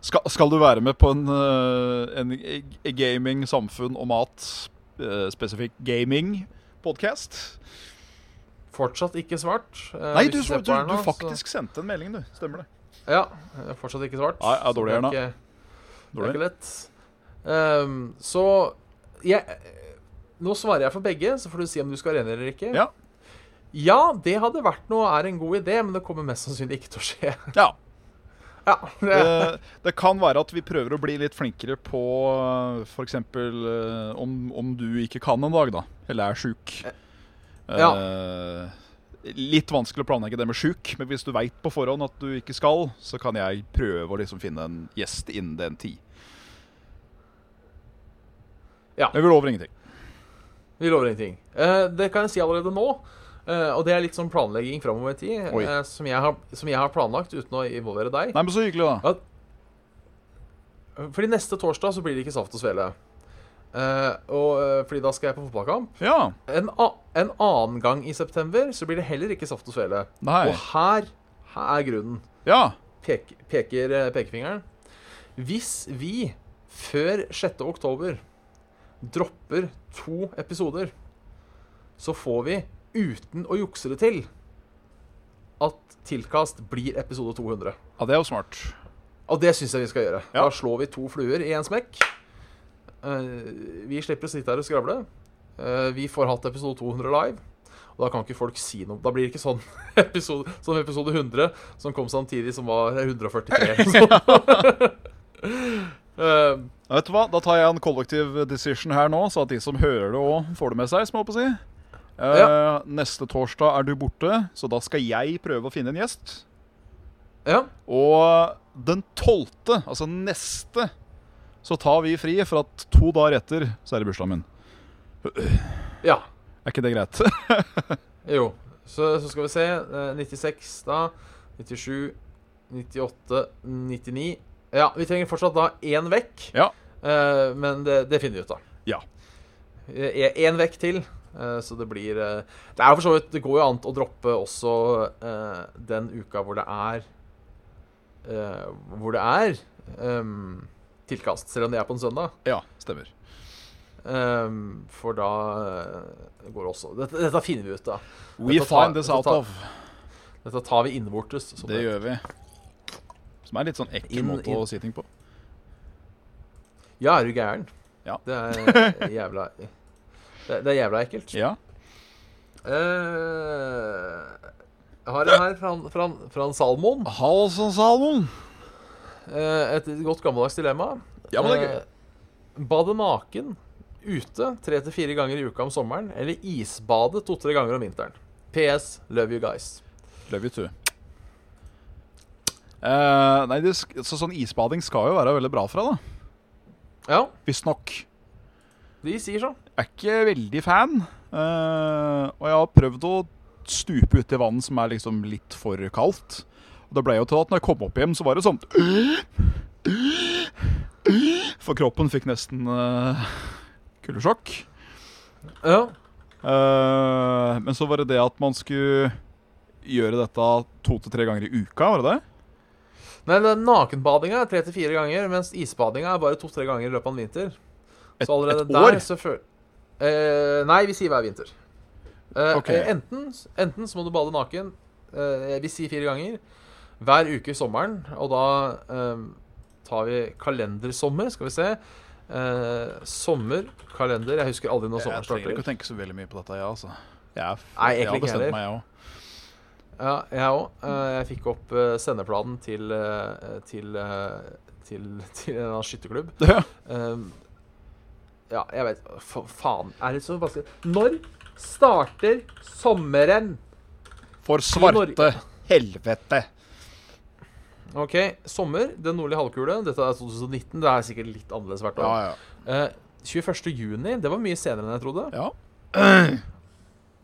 [SPEAKER 3] skal, skal du være med på en, eh, en g- gaming, samfunn og mat, eh, spesifikk gaming-podkast?
[SPEAKER 2] Fortsatt ikke svart. eh,
[SPEAKER 3] Nei,
[SPEAKER 2] hvis
[SPEAKER 3] du,
[SPEAKER 2] ser
[SPEAKER 3] du,
[SPEAKER 2] på
[SPEAKER 3] du,
[SPEAKER 2] her nå, så-
[SPEAKER 3] faktisk sendte en melding, du. Stemmer det.
[SPEAKER 2] Ja, eh, fortsatt ikke svart.
[SPEAKER 3] Nei, ja, dårlig,
[SPEAKER 2] så
[SPEAKER 3] Erna.
[SPEAKER 2] det er ikke- Det er
[SPEAKER 3] Dårlig.
[SPEAKER 2] ikke lett. Ehm, så jeg, Nå svarer jeg for begge, så får du si om du skal være enig eller ikke.
[SPEAKER 3] Ja.
[SPEAKER 2] Ja, det hadde vært noe, er en god idé, men det kommer mest sannsynlig ikke til å skje.
[SPEAKER 3] Ja.
[SPEAKER 2] Ja, det,
[SPEAKER 3] det, det kan være at vi prøver å bli litt flinkere på eh, f.eks. eh, Om, om du ikke kan en dag, da. Eller er sjuk. Eh, litt vanskelig å planlegge det med sjuk, men hvis du veit på forhånd at du ikke skal, så kan jeg prøve å liksom finne en gjest innen den tid.
[SPEAKER 2] Ja.
[SPEAKER 3] Men vi lover ingenting.
[SPEAKER 2] Vi lover ingenting. Eh, det kan jeg si allerede nå. eh, og det er litt sånn planlegging framover i tid,
[SPEAKER 3] Oi.
[SPEAKER 2] eh, som, jeg har, som jeg har planlagt uten å involvere deg.
[SPEAKER 3] Nei, men så hyggelig, da.
[SPEAKER 2] Fordi neste torsdag så blir det ikke saft og svele. Eh, og, eh, fordi da skal jeg på fotballkamp.
[SPEAKER 3] Ja.
[SPEAKER 2] En, a en annen gang i september så blir det heller ikke saft og svele.
[SPEAKER 3] Nei.
[SPEAKER 2] Og her, her er grunnen.
[SPEAKER 3] Ja.
[SPEAKER 2] Pek peker eh, pekefingeren. Hvis vi før 6. oktober dropper to episoder, så får vi, uten å jukse det til, at Tilkast blir episode 200.
[SPEAKER 3] ja, det er jo smart.
[SPEAKER 2] Og det syns jeg vi skal gjøre. Da
[SPEAKER 3] Ja.
[SPEAKER 2] slår vi to fluer i en smekk. Eh, vi slipper å sitte her og skravle. Eh, vi får hatt episode 200 live. Og da kan ikke folk si noe. Da blir det ikke sånn episode, sånn episode 100 som kom samtidig, som var 143. Eh,
[SPEAKER 3] Ja, Vet du hva, Da tar jeg en kollektiv decision her nå, så at de som hører det òg, får det med seg. som jeg håper å si. Eh,
[SPEAKER 2] Ja.
[SPEAKER 3] Neste torsdag er du borte, så da skal jeg prøve å finne en gjest.
[SPEAKER 2] ja.
[SPEAKER 3] Og den tolvte, altså neste, så tar vi fri, for at to dager etter så er det bursdagen min.
[SPEAKER 2] ja.
[SPEAKER 3] Er ikke det greit?
[SPEAKER 2] Jo. Så, så skal vi se. eh, 96 da. 97, 98, 99. Ja, vi trenger fortsatt da én vekk.
[SPEAKER 3] ja.
[SPEAKER 2] Eh, men det, det finner vi ut av.
[SPEAKER 3] Ja.
[SPEAKER 2] Én vekk til, eh, så det blir eh, Det er jo for så vidt Det går jo an å droppe også eh, den uka hvor det er eh, Hvor det er ehm, tilkast, selv om det er på en søndag.
[SPEAKER 3] Ja, stemmer.
[SPEAKER 2] Ehm, for da eh, går det også Dette, dette finner vi ut av.
[SPEAKER 3] We
[SPEAKER 2] Dette tar-
[SPEAKER 3] find this
[SPEAKER 2] dette
[SPEAKER 3] out
[SPEAKER 2] tar-
[SPEAKER 3] of.
[SPEAKER 2] Dette tar vi innvortes. som
[SPEAKER 3] Det
[SPEAKER 2] det-
[SPEAKER 3] gjør vi. Som er litt sånn ekkel
[SPEAKER 2] Inn-
[SPEAKER 3] måte
[SPEAKER 2] inn.
[SPEAKER 3] å si ting på.
[SPEAKER 2] Ja, er du gæren?
[SPEAKER 3] Ja.
[SPEAKER 2] Det er jævla det, det er jævla ekkelt.
[SPEAKER 3] Ja.
[SPEAKER 2] Eh, jeg har en her fra, han- fra, han- fra han Salmon.
[SPEAKER 3] Halsen, Salmon.
[SPEAKER 2] Eh, Et godt gammeldags dilemma.
[SPEAKER 3] Ja, men det er gøy.
[SPEAKER 2] Eh, Bade naken ute tre til fire ganger i uka om sommeren, eller isbade to-tre ganger om vinteren. PS. Love you guys.
[SPEAKER 3] Love you too. Eh, nei, det, sk- så sånn isbading skal jo være veldig bra for deg, da.
[SPEAKER 2] Ja,
[SPEAKER 3] Visstnok.
[SPEAKER 2] de sier sånn. så.
[SPEAKER 3] Jeg er ikke veldig fan. eh, og jeg har prøvd å stupe uti vann som er liksom litt for kaldt. Og det ble jo til at når jeg kom opp hjem, så var det sånn For kroppen fikk nesten eh, kuldesjokk.
[SPEAKER 2] Ja.
[SPEAKER 3] Eh, men så var det det at man skulle gjøre dette to til tre ganger i uka, var det det?
[SPEAKER 2] Nei, det er eh, nakenbadinga er tre til fire ganger, mens isbadinga er bare to-tre ganger i løpet av en vinter.
[SPEAKER 3] Et,
[SPEAKER 2] Så allerede
[SPEAKER 3] et år?
[SPEAKER 2] der så føl... Eh, nei, vi sier hver vinter. Eh,
[SPEAKER 3] Ok.
[SPEAKER 2] eh, enten, enten så må du bade naken, eh, vi sier fire ganger, hver uke i sommeren, og da eh, tar vi kalendersommer, skal vi se. Eh, sommer, kalender Jeg husker aldri når sommeren
[SPEAKER 3] Jeg trenger
[SPEAKER 2] starter.
[SPEAKER 3] ikke å tenke så veldig mye på dette, jeg, altså. Jeg, er f-
[SPEAKER 2] Nei, egentlig
[SPEAKER 3] jeg har
[SPEAKER 2] ikke
[SPEAKER 3] bestemt
[SPEAKER 2] heller.
[SPEAKER 3] meg, jeg òg.
[SPEAKER 2] Ja, jeg òg. Jeg fikk opp eh, sendeplanen til, eh, til, eh, til, til en eller annen skytterklubb.
[SPEAKER 3] Ja.
[SPEAKER 2] Um, ja, jeg vet fa Faen, er det så vanskelig? Når starter sommeren?
[SPEAKER 3] For
[SPEAKER 2] Norge-
[SPEAKER 3] svarte helvete!
[SPEAKER 2] OK, sommer, den nordlige halvkule. Dette er 2019. Det er sikkert litt annerledes hvert
[SPEAKER 3] Ja,
[SPEAKER 2] år.
[SPEAKER 3] ja.
[SPEAKER 2] Eh, 21. juni, det var mye senere enn jeg trodde.
[SPEAKER 3] ja.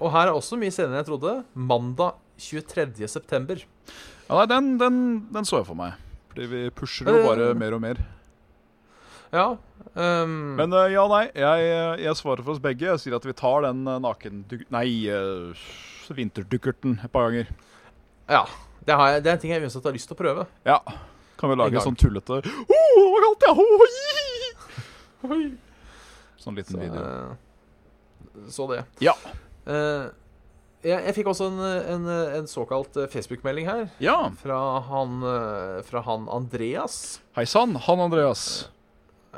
[SPEAKER 2] Og her er også mye senere enn jeg trodde. Mandag 23. september.
[SPEAKER 3] ja nei, den, den, den så jeg for meg. Fordi vi pusher jo
[SPEAKER 2] Eh.
[SPEAKER 3] bare mer og mer.
[SPEAKER 2] Ja. Um,
[SPEAKER 3] Men eh, ja, nei. Jeg, eh, jeg svarer for oss begge. Jeg sier at vi tar den eh, nakenduk... Nei, eh, vinterdukkerten et par ganger.
[SPEAKER 2] ja. Det, har jeg, det er en ting jeg uansett har lyst til å prøve.
[SPEAKER 3] Ja. Kan vi
[SPEAKER 2] En
[SPEAKER 3] lage
[SPEAKER 2] gang.
[SPEAKER 3] sånn tullete Å, det var kaldt, ja! Ho, ho, hi, hi, hi!» Sånn liten
[SPEAKER 2] Så,
[SPEAKER 3] video.
[SPEAKER 2] eh, så det.
[SPEAKER 3] Ja.
[SPEAKER 2] Eh, jeg, jeg fikk også en, en, en såkalt eh, Facebook-melding her
[SPEAKER 3] Ja.
[SPEAKER 2] fra han, eh, fra han Andreas,
[SPEAKER 3] Hei sann, han Andreas.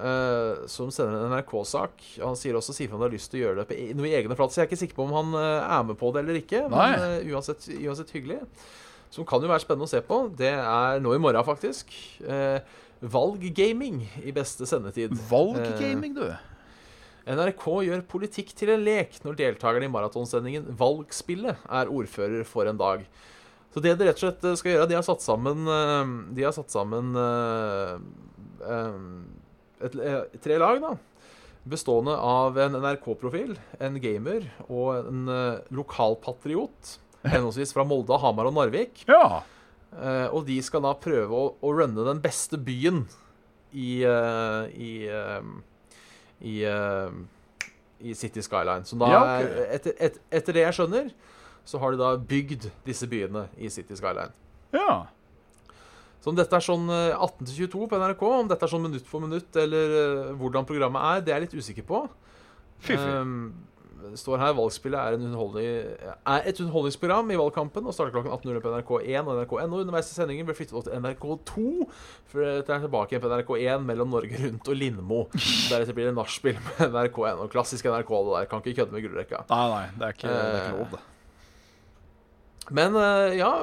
[SPEAKER 2] eh, som sender en NRK-sak. Han sier også sier fra om han har lyst til å gjøre det på e- noe i egne flat, så jeg er ikke sikker på om han eh, er med på det eller ikke.
[SPEAKER 3] Nei.
[SPEAKER 2] Men eh, uansett, uansett hyggelig. Som kan jo være spennende å se på. Det er nå i morgen, faktisk. Eh, Valggaming i beste sendetid.
[SPEAKER 3] Valggaming, du.
[SPEAKER 2] NRK gjør politikk til en lek når deltakerne i maratonsendingen Valgspillet er ordfører for en dag. Så det de rett og slett eh, skal gjøre, de har satt sammen eh, De har satt sammen eh, eh, et, eh, tre lag, da. Bestående av en NRK-profil, en gamer og en eh, lokalpatriot. Henholdsvis fra Molde, Hamar og Narvik.
[SPEAKER 3] Ja.
[SPEAKER 2] Eh, og de skal da prøve å, å runne den beste byen i eh, i, eh, i, eh, i City Skyline. Så da
[SPEAKER 3] Ja, ok.
[SPEAKER 2] er, etter, et, etter det jeg skjønner, så har de da bygd disse byene i City Skyline.
[SPEAKER 3] Ja.
[SPEAKER 2] Så om dette er sånn eh, 18 til 22 på NRK, om dette er sånn minutt for minutt eller eh, hvordan programmet er, det er jeg litt usikker på.
[SPEAKER 3] Fy, fy.
[SPEAKER 2] Eh, det står her Valgspillet er, en underholdning- er et underholdningsprogram i valgkampen og starter klokken 18.00 på NRK1 og NRK.no. Underveis i sendingen ble flyttet opp til NRK2, for det er tilbake igjen på NRK1 mellom Norge Rundt og Lindmo. Deretter blir det nachspiel med NRK1. Og klassisk NRK, det der. Kan ikke kødde med gullrekka.
[SPEAKER 3] Nei, nei, det er ikke, det er ikke
[SPEAKER 2] eh.
[SPEAKER 3] lov, det.
[SPEAKER 2] Men eh, ja,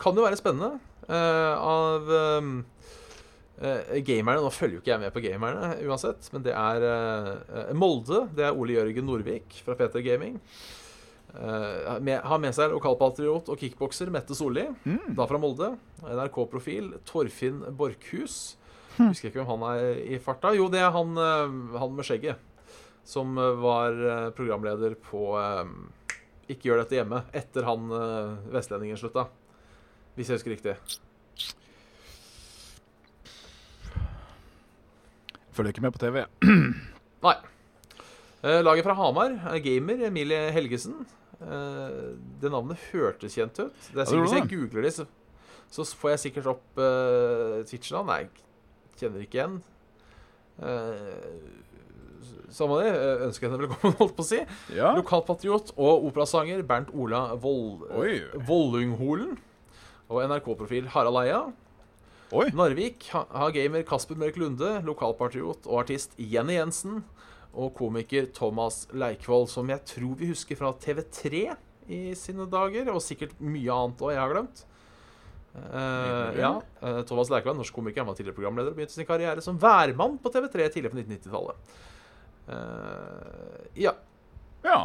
[SPEAKER 2] kan jo være spennende. eh, av ehm, eh, gamerne Nå følger jo ikke jeg med på gamerne uansett, men det er eh, eh, Molde. Det er Ole Jørgen Norvik fra Peter Gaming. Eh, med, har med seg lokalpatriot og kickbokser Mette Solli, da fra Molde. NRK-profil Torfinn Borchhus. Husker ikke hvem han er i farta. Jo, det er han, eh, han med skjegget. Som eh, var eh, programleder på eh, ikke gjør dette hjemme etter han eh, vestlendingen slutta. Hvis jeg husker riktig.
[SPEAKER 3] Følger ikke med på TV.
[SPEAKER 2] Nei. Eh, laget fra Hamar er gamer Emilie Helgesen. Eh, det navnet hørtes kjent ut. Det er
[SPEAKER 3] Ja, det gjorde
[SPEAKER 2] sikkert Hvis jeg googler det, så, så får jeg sikkert opp uh, Twitch-navn. Nei, kjenner ikke igjen. Uh, Samme det. eh, Ønsker henne velkommen, holdt på å si.
[SPEAKER 3] Ja.
[SPEAKER 2] Lokalpatriot og operasanger Bernt Ola Vold,
[SPEAKER 3] Oi.
[SPEAKER 2] Vollungholen. Og NRK-profil Harald Eia.
[SPEAKER 3] Oi.
[SPEAKER 2] Narvik ha- har gamer Kasper Mørk Lunde, lokalpatriot og artist Jenny Jensen. Og komiker Thomas Leikvoll, som jeg tror vi husker fra TV3 i sine dager. Og sikkert mye annet òg, jeg har glemt. Eh, ja, eh, Thomas Leikvoll, norsk komiker, han var tidligere programleder og begynte sin karriere som værmann på TV3 tidlig på 1990-tallet. Eh, ja.
[SPEAKER 3] Ja.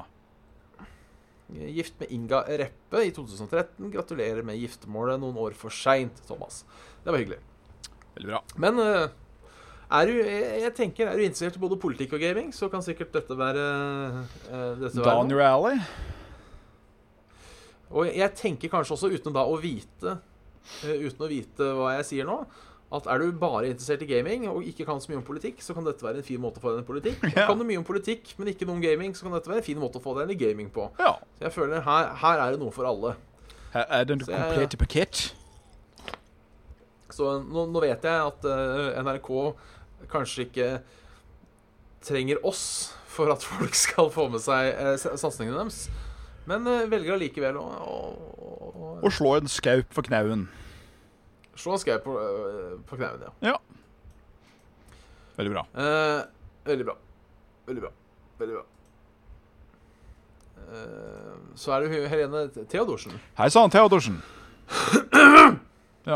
[SPEAKER 2] Gift med Inga Reppe i 2013. Gratulerer med giftermålet noen år for seint, Thomas. Det var hyggelig.
[SPEAKER 3] Veldig bra.
[SPEAKER 2] Men eh, er du, jeg jeg tenker, er du interessert i både politikk og gaming, så kan sikkert dette være eh, dette være noe.
[SPEAKER 3] Daniel Alley.
[SPEAKER 2] Og jeg tenker kanskje også, uten da å vite eh, Uten å vite hva jeg sier nå, at er du bare interessert i gaming og ikke kan så mye om politikk, så kan dette være en fin måte å få deg inn i politikk.
[SPEAKER 3] Ja.
[SPEAKER 2] Kan du mye om politikk, men ikke noe om gaming, så kan dette være en fin måte å få deg inn i gaming på.
[SPEAKER 3] Ja.
[SPEAKER 2] Så jeg føler her, her er det noe for alle.
[SPEAKER 3] Her er den
[SPEAKER 2] Så jeg-
[SPEAKER 3] komplette pakett.
[SPEAKER 2] Så nå, nå vet jeg at eh, NRK kanskje ikke trenger oss for at folk skal få med seg eh, s- satsingene deres, men eh, velger allikevel å, å, å,
[SPEAKER 3] Og slå en skaup for knauen.
[SPEAKER 2] å slå en skau på, eh, på knauen, ja.
[SPEAKER 3] Ja. Veldig bra.
[SPEAKER 2] Eh, Veldig bra. Veldig bra. Veldig bra. Eh, Så er det jo Helene Theodorsen.
[SPEAKER 3] Hei sann, Theodorsen. Ja.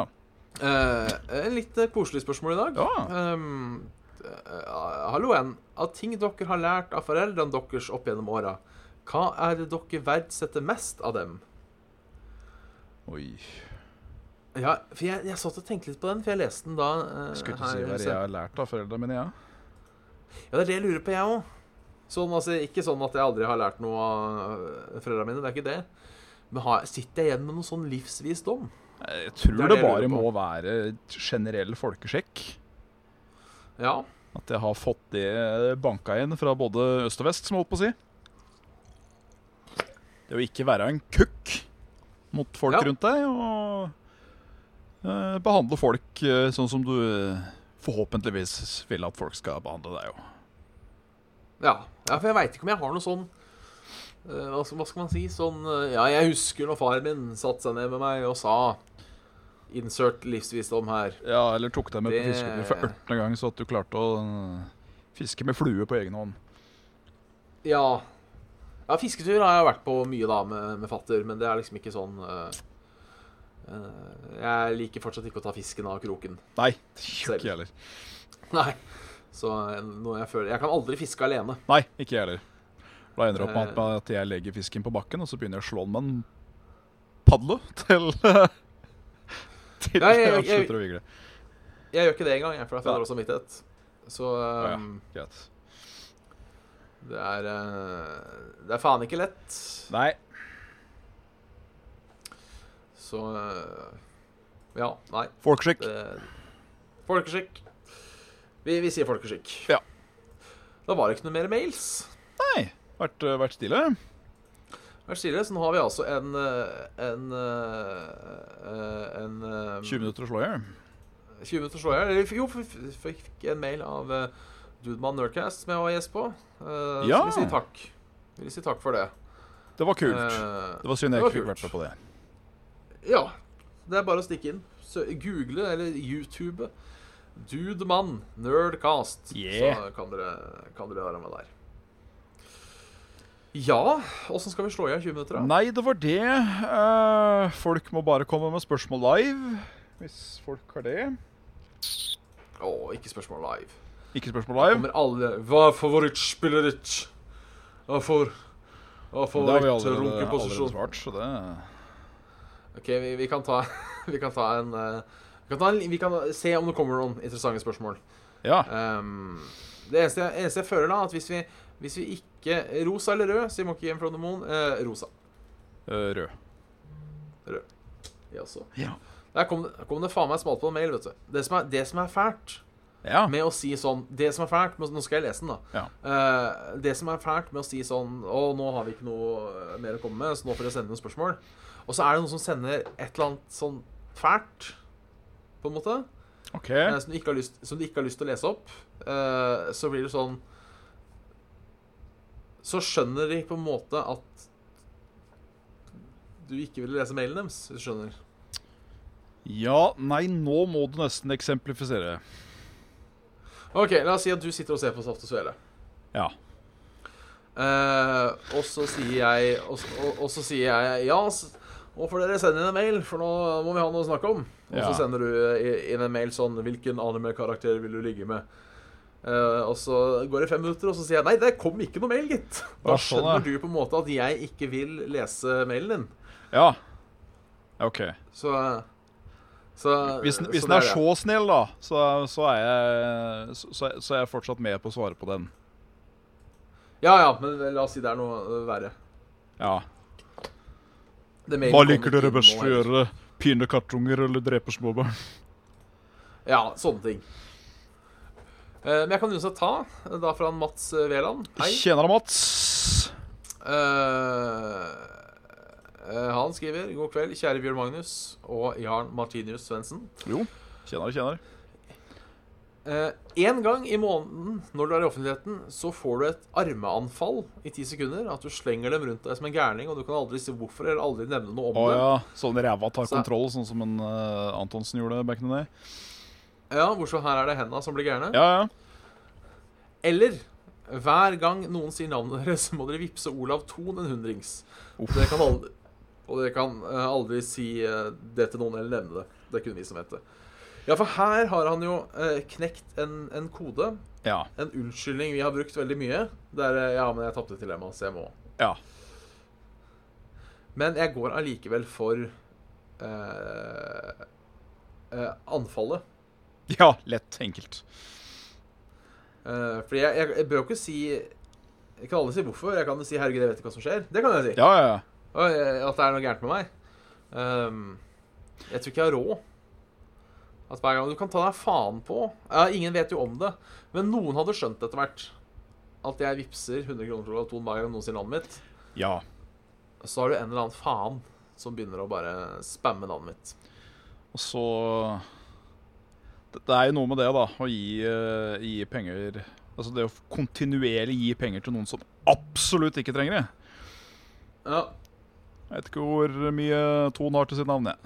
[SPEAKER 2] Eh, En litt eh, koselig spørsmål i dag.
[SPEAKER 3] Ja.
[SPEAKER 2] Ehm, eh, hallo igjen. Av ting dere har lært av foreldrene deres opp gjennom åra, hva er det dere verdsetter mest av dem?
[SPEAKER 3] Oi.
[SPEAKER 2] Ja, for jeg, jeg satt og tenkte litt på den, for jeg leste den da eh,
[SPEAKER 3] Skulle ikke
[SPEAKER 2] her,
[SPEAKER 3] si hva
[SPEAKER 2] så-
[SPEAKER 3] jeg har lært av foreldra mine, jeg.
[SPEAKER 2] Ja, det er det jeg lurer på, jeg òg. Sånn, altså, ikke sånn at jeg aldri har lært noe av øh, foreldrene mine, det er ikke det. Men har, sitter jeg igjen med noen sånn livsvisdom?
[SPEAKER 3] Jeg
[SPEAKER 2] Det er
[SPEAKER 3] tror det
[SPEAKER 2] det jeg
[SPEAKER 3] bare
[SPEAKER 2] lurer på.
[SPEAKER 3] må være generell folkesjekk.
[SPEAKER 2] Ja.
[SPEAKER 3] At jeg har fått det banka inn fra både øst og vest, som jeg holdt på å si. Det å ikke være en kukk mot folk
[SPEAKER 2] Ja.
[SPEAKER 3] rundt deg, og eh, behandle folk eh, sånn som du eh, forhåpentligvis vil at folk skal behandle deg. Jo.
[SPEAKER 2] Ja, ja for jeg veit ikke om jeg har noe sånn øh, hva, skal, hva skal man si? Sånn øh, Ja, jeg husker når faren min satte seg ned med meg og sa Insert livsvisdom her.
[SPEAKER 3] Ja, eller tok deg med på
[SPEAKER 2] Det-
[SPEAKER 3] fisketur for 18. gang, så at du klarte å eh, fiske med flue på egen hånd.
[SPEAKER 2] Ja. ja fisketur har jeg vært på mye da med, med fatter, men det er liksom ikke sånn øh, øh, Jeg liker fortsatt ikke å ta fisken av kroken.
[SPEAKER 3] Nei, det gjør
[SPEAKER 2] Selv.
[SPEAKER 3] ikke jeg heller.
[SPEAKER 2] Nei. Så eh, noe jeg føler Jeg kan aldri fiske alene.
[SPEAKER 3] Nei, ikke jeg heller. Da ender
[SPEAKER 2] Eh.
[SPEAKER 3] det opp med at- at jeg legger fisken på bakken, og så begynner jeg å slå den med en padle til Til
[SPEAKER 2] Nei, jeg-
[SPEAKER 3] jeg,
[SPEAKER 2] jeg-
[SPEAKER 3] slutter å vigle.
[SPEAKER 2] Jeg gjør ikke det engang, jeg, for da får jeg
[SPEAKER 3] Ja.
[SPEAKER 2] dårlig samvittighet. Så
[SPEAKER 3] Ja, ja.
[SPEAKER 2] ehm,
[SPEAKER 3] Greit.
[SPEAKER 2] det er eh, Det er faen ikke lett.
[SPEAKER 3] Nei.
[SPEAKER 2] Så eh, Ja, nei.
[SPEAKER 3] Folkeskikk.
[SPEAKER 2] det- Folkeskikk. Vi, vi sier folkeskikk.
[SPEAKER 3] Ja.
[SPEAKER 2] Da var det ikke noe mer mails.
[SPEAKER 3] Nei. Vært, øh, vært stille.
[SPEAKER 2] Vær stille. Så nå har vi altså en eh, en eh, en, eh,
[SPEAKER 3] 20 minutter å slå i hjel.
[SPEAKER 2] 20 minutter slår jeg. Eller, Jo, f- f- fikk en mail av eh, Dudemann Nerdcast, som jeg var gjest på. Eh,
[SPEAKER 3] Ja.
[SPEAKER 2] Så vil si takk. Vil si takk for det.
[SPEAKER 3] Det var kult.
[SPEAKER 2] Eh,
[SPEAKER 3] Det var synd
[SPEAKER 2] det
[SPEAKER 3] jeg ikke fikk
[SPEAKER 2] var
[SPEAKER 3] vært med på det.
[SPEAKER 2] ja. Det er bare å stikke inn. Sø Google eller YouTube Dudemann Nerdcast.
[SPEAKER 3] Yeah.
[SPEAKER 2] Så kan dere, kan dere være med der. Ja, åssen skal vi slå i hjel 20 minutter? da?
[SPEAKER 3] Nei, det var det. Eh, folk må bare komme med spørsmål live. Hvis folk har det.
[SPEAKER 2] Å, ikke spørsmål live.
[SPEAKER 3] Ikke spørsmål live.
[SPEAKER 2] Kommer alle Hva er favorittspillet ditt? Hva er for Hva er
[SPEAKER 3] Det har vi allerede, allerede
[SPEAKER 2] favoritt-runkeposisjon?
[SPEAKER 3] svart, så det
[SPEAKER 2] Ok, vi, vi kan ta Vi kan ta en eh, vi kan, ta en, vi kan se om det kommer noen interessante spørsmål.
[SPEAKER 3] Ja.
[SPEAKER 2] Ehm, det eneste jeg, eneste jeg føler, da, at hvis vi, hvis vi ikke Rosa eller rød, sier Monkey Game from the Moon. eh, rosa.
[SPEAKER 3] Eh, Rød.
[SPEAKER 2] Ja, så.
[SPEAKER 3] Ja.
[SPEAKER 2] Der kom, det- kom det faen meg smalt på en mail, vet du. Det som er, det som er fælt
[SPEAKER 3] Ja.
[SPEAKER 2] med å si sånn Det som er fælt med, Nå skal jeg lese den, da.
[SPEAKER 3] Ja.
[SPEAKER 2] Eh, det som er fælt med å si sånn Å, nå har vi ikke noe eh, mer å komme med, så nå får dere sende noen spørsmål. Og så er det noen som sender et eller annet sånn fælt, på en måte,
[SPEAKER 3] OK.
[SPEAKER 2] eh, som, du ikke har lyst, som du ikke har lyst til å lese opp. eh, så blir det sånn Så skjønner de på en måte at du ikke ville lese mailen deres, hvis du skjønner.
[SPEAKER 3] Ja, nei, nå må du nesten eksemplifisere.
[SPEAKER 2] OK, la oss si at du sitter og ser på Saft og Svele.
[SPEAKER 3] Ja.
[SPEAKER 2] Eh, og så sier jeg Og, så- og, og så sier jeg Ja, s- nå får dere sende inn en mail, for nå må vi ha noe å snakke om. Og
[SPEAKER 3] Ja.
[SPEAKER 2] så sender du i- inn en mail sånn Hvilken anime-karakter vil du ligge med? Eh, og så går det fem minutter, og så sier jeg nei, det kom ikke noe mail, gitt. Da
[SPEAKER 3] Ja, sånn, ja.
[SPEAKER 2] skjønner du på en måte at jeg ikke vil lese mailen din.
[SPEAKER 3] Ja. OK.
[SPEAKER 2] Så, så
[SPEAKER 3] Hvis, den-
[SPEAKER 2] Eh, så
[SPEAKER 3] hvis
[SPEAKER 2] det
[SPEAKER 3] den er
[SPEAKER 2] det.
[SPEAKER 3] så snill, da, så, så, er jeg, så, så er jeg fortsatt med på å svare på den.
[SPEAKER 2] Ja ja, men la oss si det er noe øh, verre.
[SPEAKER 3] Ja.
[SPEAKER 2] Det mailen
[SPEAKER 3] Hva
[SPEAKER 2] kom
[SPEAKER 3] liker
[SPEAKER 2] ikke
[SPEAKER 3] dere
[SPEAKER 2] inn nå
[SPEAKER 3] best å
[SPEAKER 2] heller.
[SPEAKER 3] gjøre? Pine kattunger eller drepe småbarn?
[SPEAKER 2] Ja, sånne ting. Eh, Men jeg kan uansett ta, eh, da fra en Mats eh, Veland. Hei.
[SPEAKER 3] Tjener deg, Mats.
[SPEAKER 2] Eh, eh, han skriver God kveld, kjære Bjørn Magnus og Jarn Martinius Svendsen.
[SPEAKER 3] Jo. Tjener, tjener.
[SPEAKER 2] Én gang i måneden når du er i offentligheten, så får du et armeanfall i ti sekunder. At du slenger dem rundt deg som en gærning, og du kan aldri si hvorfor eller aldri nevne noe om
[SPEAKER 3] Å
[SPEAKER 2] det.
[SPEAKER 3] ja. Sånn ræva tar
[SPEAKER 2] Så-
[SPEAKER 3] kontroll, sånn som en eh, Antonsen gjorde back in the day.
[SPEAKER 2] Ja, Bortsett fra her er det henda som blir gærne.
[SPEAKER 3] Ja, ja.
[SPEAKER 2] Eller hver gang noen sier navnet deres, må dere vippse Olav Thon en hundrings. Dere kan aldri, og dere kan eh, aldri si eh, det til noen eller nevne det. Det kunne vi som het det. Ja, for her har han jo eh, knekt en, en kode.
[SPEAKER 3] Ja.
[SPEAKER 2] En unnskyldning vi har brukt veldig mye. Det er eh, 'ja, men jeg tapte dilemmaet, så jeg må'.
[SPEAKER 3] ja.
[SPEAKER 2] Men jeg går allikevel for eh, eh, anfallet.
[SPEAKER 3] Ja, lett. Enkelt.
[SPEAKER 2] Eh, fordi jeg, jeg, jeg bør jo ikke si Jeg kan aldri si hvorfor. Jeg kan jo si 'herregud, jeg vet ikke hva som skjer'. Det kan jeg si.
[SPEAKER 3] Ja, ja, ja.
[SPEAKER 2] Og, eh, at det er noe gærent med meg. Ehm, jeg tror ikke jeg har råd. At hver gang Du kan ta deg faen på. Ja, ingen vet jo om det. Men noen hadde skjønt etter hvert at jeg vippser 100 kroner til Olaton hver gang noen sier navnet mitt.
[SPEAKER 3] Ja.
[SPEAKER 2] Så har du en eller annen faen som begynner å bare spamme navnet mitt.
[SPEAKER 3] Og så det, det er jo noe med det, da. Å gi, eh, gi penger Altså det å kontinuerlig gi penger til noen som absolutt ikke trenger det.
[SPEAKER 2] Ja,
[SPEAKER 3] Jeg vet ikke hvor mye Ton har til sitt navn, jeg.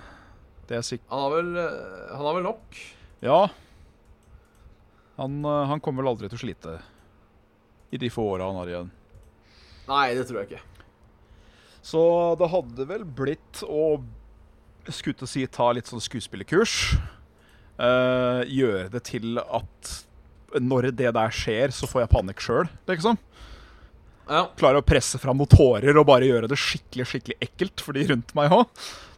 [SPEAKER 3] Det er sikkert.
[SPEAKER 2] han har vel, eh, han har vel nok.
[SPEAKER 3] Ja. Han, eh, han kommer vel aldri til å slite i de få åra han har igjen.
[SPEAKER 2] Nei, det tror jeg ikke.
[SPEAKER 3] Så det hadde vel blitt å skulle til å si ta litt sånn skuespillerkurs. Eh, gjøre det til at når det der skjer, så får jeg panikk sjøl, liksom.
[SPEAKER 2] Ja,
[SPEAKER 3] Klare å presse fram noen tårer og bare gjøre det skikkelig skikkelig ekkelt for de rundt meg òg.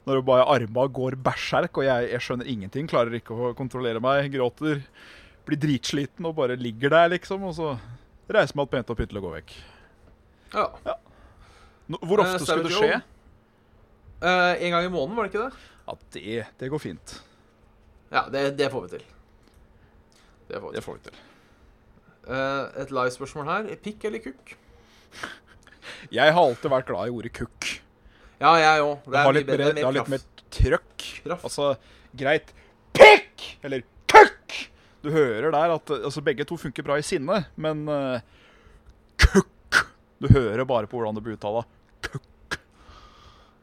[SPEAKER 3] Når det bare arma går berserk, og jeg, jeg skjønner ingenting. Klarer ikke å kontrollere meg. Gråter. Blir dritsliten og bare ligger der, liksom. Og så reiser meg opp pent og pyntelig og går vekk.
[SPEAKER 2] ja.
[SPEAKER 3] Nå- Hvor
[SPEAKER 2] Eh,
[SPEAKER 3] ofte skulle
[SPEAKER 2] Sarah
[SPEAKER 3] det
[SPEAKER 2] Jo?
[SPEAKER 3] skje?
[SPEAKER 2] Eh, en gang i måneden, var det ikke det?
[SPEAKER 3] Ja, det, det går fint.
[SPEAKER 2] Ja, det, det får vi til. Det får vi til.
[SPEAKER 3] Det får vi til.
[SPEAKER 2] Eh, et live-spørsmål her. Pikk eller kukk?
[SPEAKER 3] Jeg har alltid vært glad i ordet kukk.
[SPEAKER 2] Ja, jeg òg.
[SPEAKER 3] Det har litt mer, det har litt mer trøkk.
[SPEAKER 2] Kraft.
[SPEAKER 3] Altså, greit Pikk! Eller kukk! Du hører der at eh, altså, begge to funker bra i sinne, men eh, kukk Du hører bare på hvordan det blir uttala. Kukk.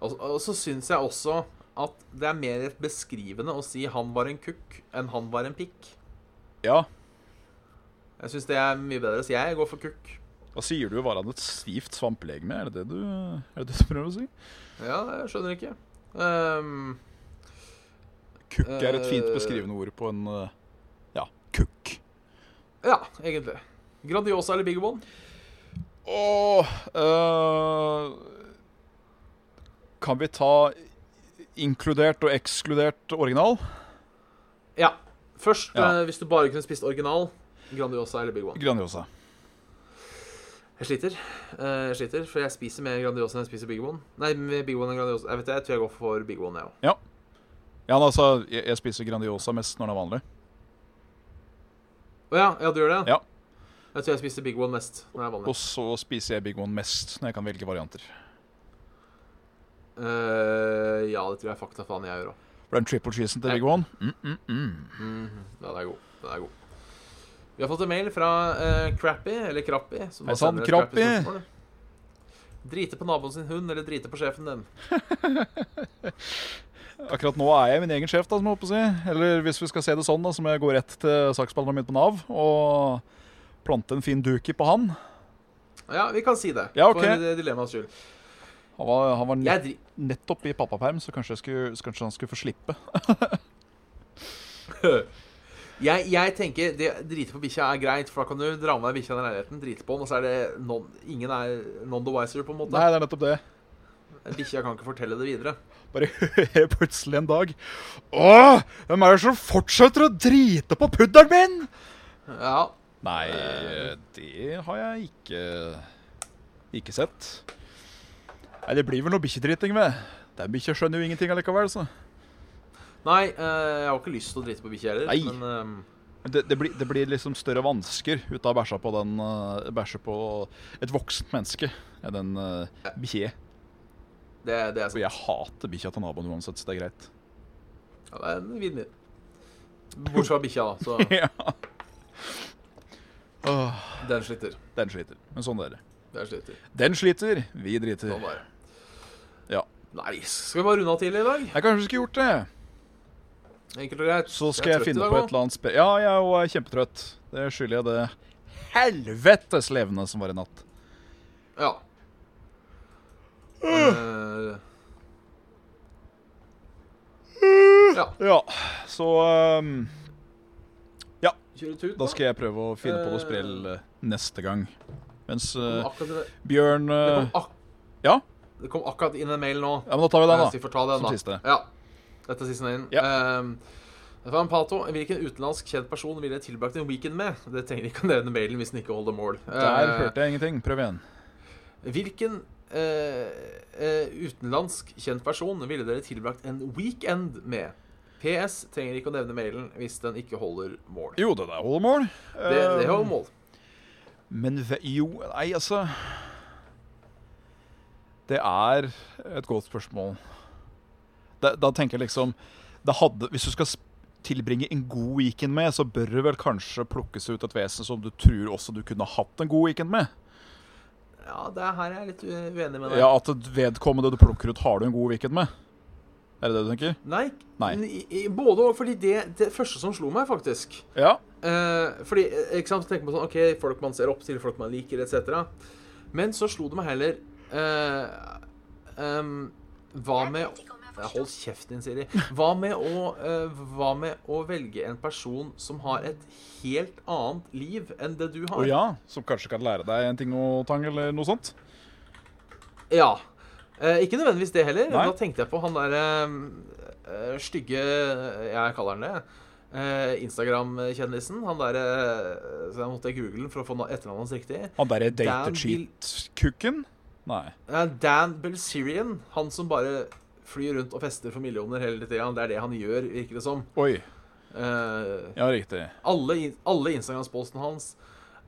[SPEAKER 2] Og, og så syns jeg også at det er mer beskrivende å si 'han var en kukk' enn 'han var en pikk'.
[SPEAKER 3] Ja,
[SPEAKER 2] Jeg syns det er mye bedre å si 'jeg går for kukk'.
[SPEAKER 3] da sier du jo bare at et stivt svamplegeme. Er det det du, er det det du prøver å si?
[SPEAKER 2] Ja, jeg skjønner ikke. Ehm,
[SPEAKER 3] Kukk er et fint
[SPEAKER 2] Eh.
[SPEAKER 3] beskrivende ord på en eh, Ja, kukk.
[SPEAKER 2] ja, egentlig. Grandiosa eller Big One?
[SPEAKER 3] Åh øh, Kan vi ta inkludert og ekskludert original?
[SPEAKER 2] Ja. Først,
[SPEAKER 3] Ja.
[SPEAKER 2] eh, hvis du bare kunne spist original, Grandiosa eller Big One.
[SPEAKER 3] Grandiosa.
[SPEAKER 2] Jeg sliter. Eh, jeg sliter, for jeg spiser mer Grandiosa enn jeg spiser Big One. Nei, med Big One enn Grandiosa. Jeg vet det, jeg tror jeg går for Big One, jeg òg.
[SPEAKER 3] Ja, men altså, jeg, jeg spiser Grandiosa mest når den er vanlig.
[SPEAKER 2] Å ja, ja, du gjør det?
[SPEAKER 3] Ja.
[SPEAKER 2] Jeg tror jeg spiser Big One mest når jeg er vanlig.
[SPEAKER 3] Og så spiser jeg Big One mest når jeg kan velge varianter.
[SPEAKER 2] Eh, ja, det tror jeg fakta faen jeg gjør òg.
[SPEAKER 3] For den triple cheesen til Big One mm, mm, mm.
[SPEAKER 2] Den er god. Den er god. Vi har fått en mail fra eh, Crappy, eller Krappi. som da
[SPEAKER 3] Hei sann,
[SPEAKER 2] sender et crappy
[SPEAKER 3] Crappy.
[SPEAKER 2] spørsmål. Drite på naboen sin hund, eller drite på sjefen din.
[SPEAKER 3] Akkurat nå er jeg min egen sjef, da, som jeg håper å si. Eller hvis vi skal se det sånn, da, så må jeg gå rett til saksbehandleren min på Nav og plante en fin duki på han.
[SPEAKER 2] Ah, Ja, vi kan si det.
[SPEAKER 3] Ja, ok.
[SPEAKER 2] For eh, dilemmaets skyld.
[SPEAKER 3] Han var, han var
[SPEAKER 2] Jeg, dri
[SPEAKER 3] nettopp i pappaperm, så kanskje, jeg skulle, så kanskje han skulle få slippe.
[SPEAKER 2] jeg, jeg tenker det, drite på bikkja er greit, for da kan du dra med deg bikkja i leiligheten, drite på den, og så er det non, ingen er non the wiser, på en måte.
[SPEAKER 3] Nei, det er nettopp det.
[SPEAKER 2] Bikkja kan ikke fortelle det videre.
[SPEAKER 3] Bare hører jeg plutselig en dag Åh, hvem er det som fortsetter å drite på pudderen min?
[SPEAKER 2] Ja,
[SPEAKER 3] Nei, eh, det har jeg ikke Ikke sett. Nei, det blir vel noe bikkjedriting med. Den bikkja skjønner jo ingenting allikevel, så.
[SPEAKER 2] Nei, eh, jeg har ikke lyst til å drite på bikkja heller.
[SPEAKER 3] Nei.
[SPEAKER 2] Men ehm,
[SPEAKER 3] Men Det, det, blir, det blir liksom større vansker ut av å bæsje på den eh, Bæsje på et voksent menneske enn en uh, bikkje.
[SPEAKER 2] det, det er
[SPEAKER 3] For jeg hater bikkja til naboen uansett, så det er greit.
[SPEAKER 2] ja, det er en vinn-vinn. Bortsett fra bikkja, da. Så
[SPEAKER 3] ja. Åh,
[SPEAKER 2] den sliter.
[SPEAKER 3] den sliter. Men sånn er det.
[SPEAKER 2] Den sliter.
[SPEAKER 3] Den sliter, vi driter.
[SPEAKER 2] Sånn bare.
[SPEAKER 3] Ja.
[SPEAKER 2] Nei, skal vi bare runde av tidlig i dag?
[SPEAKER 3] Jeg kanskje skulle gjort det.
[SPEAKER 2] Enkelt og greit.
[SPEAKER 3] Så skal jeg,
[SPEAKER 2] er trøtt i
[SPEAKER 3] finne
[SPEAKER 2] dag
[SPEAKER 3] på
[SPEAKER 2] også.
[SPEAKER 3] et eller annet spe... Ja, jeg er jo kjempetrøtt. Det eh, skylder jeg det helvetes levende som var i natt.
[SPEAKER 2] Ja.
[SPEAKER 3] Mm.
[SPEAKER 2] Eh,
[SPEAKER 3] Ja, så ehm,
[SPEAKER 2] kjør en tut,
[SPEAKER 3] da skal jeg prøve å finne på noe sprell eh, neste gang. Mens eh,
[SPEAKER 2] Akkurat i det-
[SPEAKER 3] Bjørn
[SPEAKER 2] det,
[SPEAKER 3] eh,
[SPEAKER 2] kom ak
[SPEAKER 3] ja?
[SPEAKER 2] det kom akkurat inn en mail nå.
[SPEAKER 3] ja, men da tar vi den,
[SPEAKER 2] Eh,
[SPEAKER 3] da.
[SPEAKER 2] så vi får ta den,
[SPEAKER 3] Som
[SPEAKER 2] da.
[SPEAKER 3] siste.
[SPEAKER 2] Ja. Dette er siste inn. Ehm, det var en Pato. Hvilken utenlandsk kjent person ville jeg tilbrakt en weekend med? Det trenger ikke å nevne mailen hvis den ikke holder mål.
[SPEAKER 3] Der
[SPEAKER 2] Eh,
[SPEAKER 3] hørte jeg ingenting. Prøv igjen.
[SPEAKER 2] Hvilken eh, eh, utenlandsk kjent person ville dere tilbrakt en weekend med? PS trenger ikke å nevne mailen hvis den ikke holder mål.
[SPEAKER 3] Jo, det der holder mål.
[SPEAKER 2] Det, det holder mål.
[SPEAKER 3] Men ve- jo Nei, altså Det er et godt spørsmål. Da, da tenker jeg liksom det hadde, Hvis du skal sp- tilbringe en god weekend med, så bør du vel kanskje plukkes ut et vesen som du tror også du kunne hatt en god weekend med.
[SPEAKER 2] Ja, det er her jeg er litt u- uenig med deg.
[SPEAKER 3] Ja, At et vedkommende du plukker ut, har du en god weekend med. Er det det du tenker?
[SPEAKER 2] Nei,
[SPEAKER 3] Nei.
[SPEAKER 2] n- i- i- både og, fordi det, det første som slo meg, faktisk
[SPEAKER 3] Ja.
[SPEAKER 2] Eh, fordi, eh, ikke sant, så tenker man sånn, ok, folk man ser opp til, folk man liker, etc. Men så slo det meg heller eh, em, Hva med Eh, Hold kjeften din, Siri. Hva med, å, eh, hva med å velge en person som har et helt annet liv enn det du har?
[SPEAKER 3] Og ja, som kanskje kan lære deg en ting og tang, eller noe sånt.
[SPEAKER 2] Ja. Eh, ikke nødvendigvis det heller.
[SPEAKER 3] Nei.
[SPEAKER 2] Da tenkte jeg på han derre eh, stygge Jeg kaller han det. eh, Instagram-kjendisen. Han derre Så jeg måtte google den for å få na- etternavnet hans riktig.
[SPEAKER 3] Han derre
[SPEAKER 2] Dan Bill-
[SPEAKER 3] date-cheat-kukken? Nei.
[SPEAKER 2] Eh, Dan Belsirian. Han som bare flyr rundt og fester for millioner hele tida. Det er det han gjør, virker det som.
[SPEAKER 3] Oi.
[SPEAKER 2] Eh,
[SPEAKER 3] Ja, riktig.
[SPEAKER 2] alle, in- alle Instagram-postene hans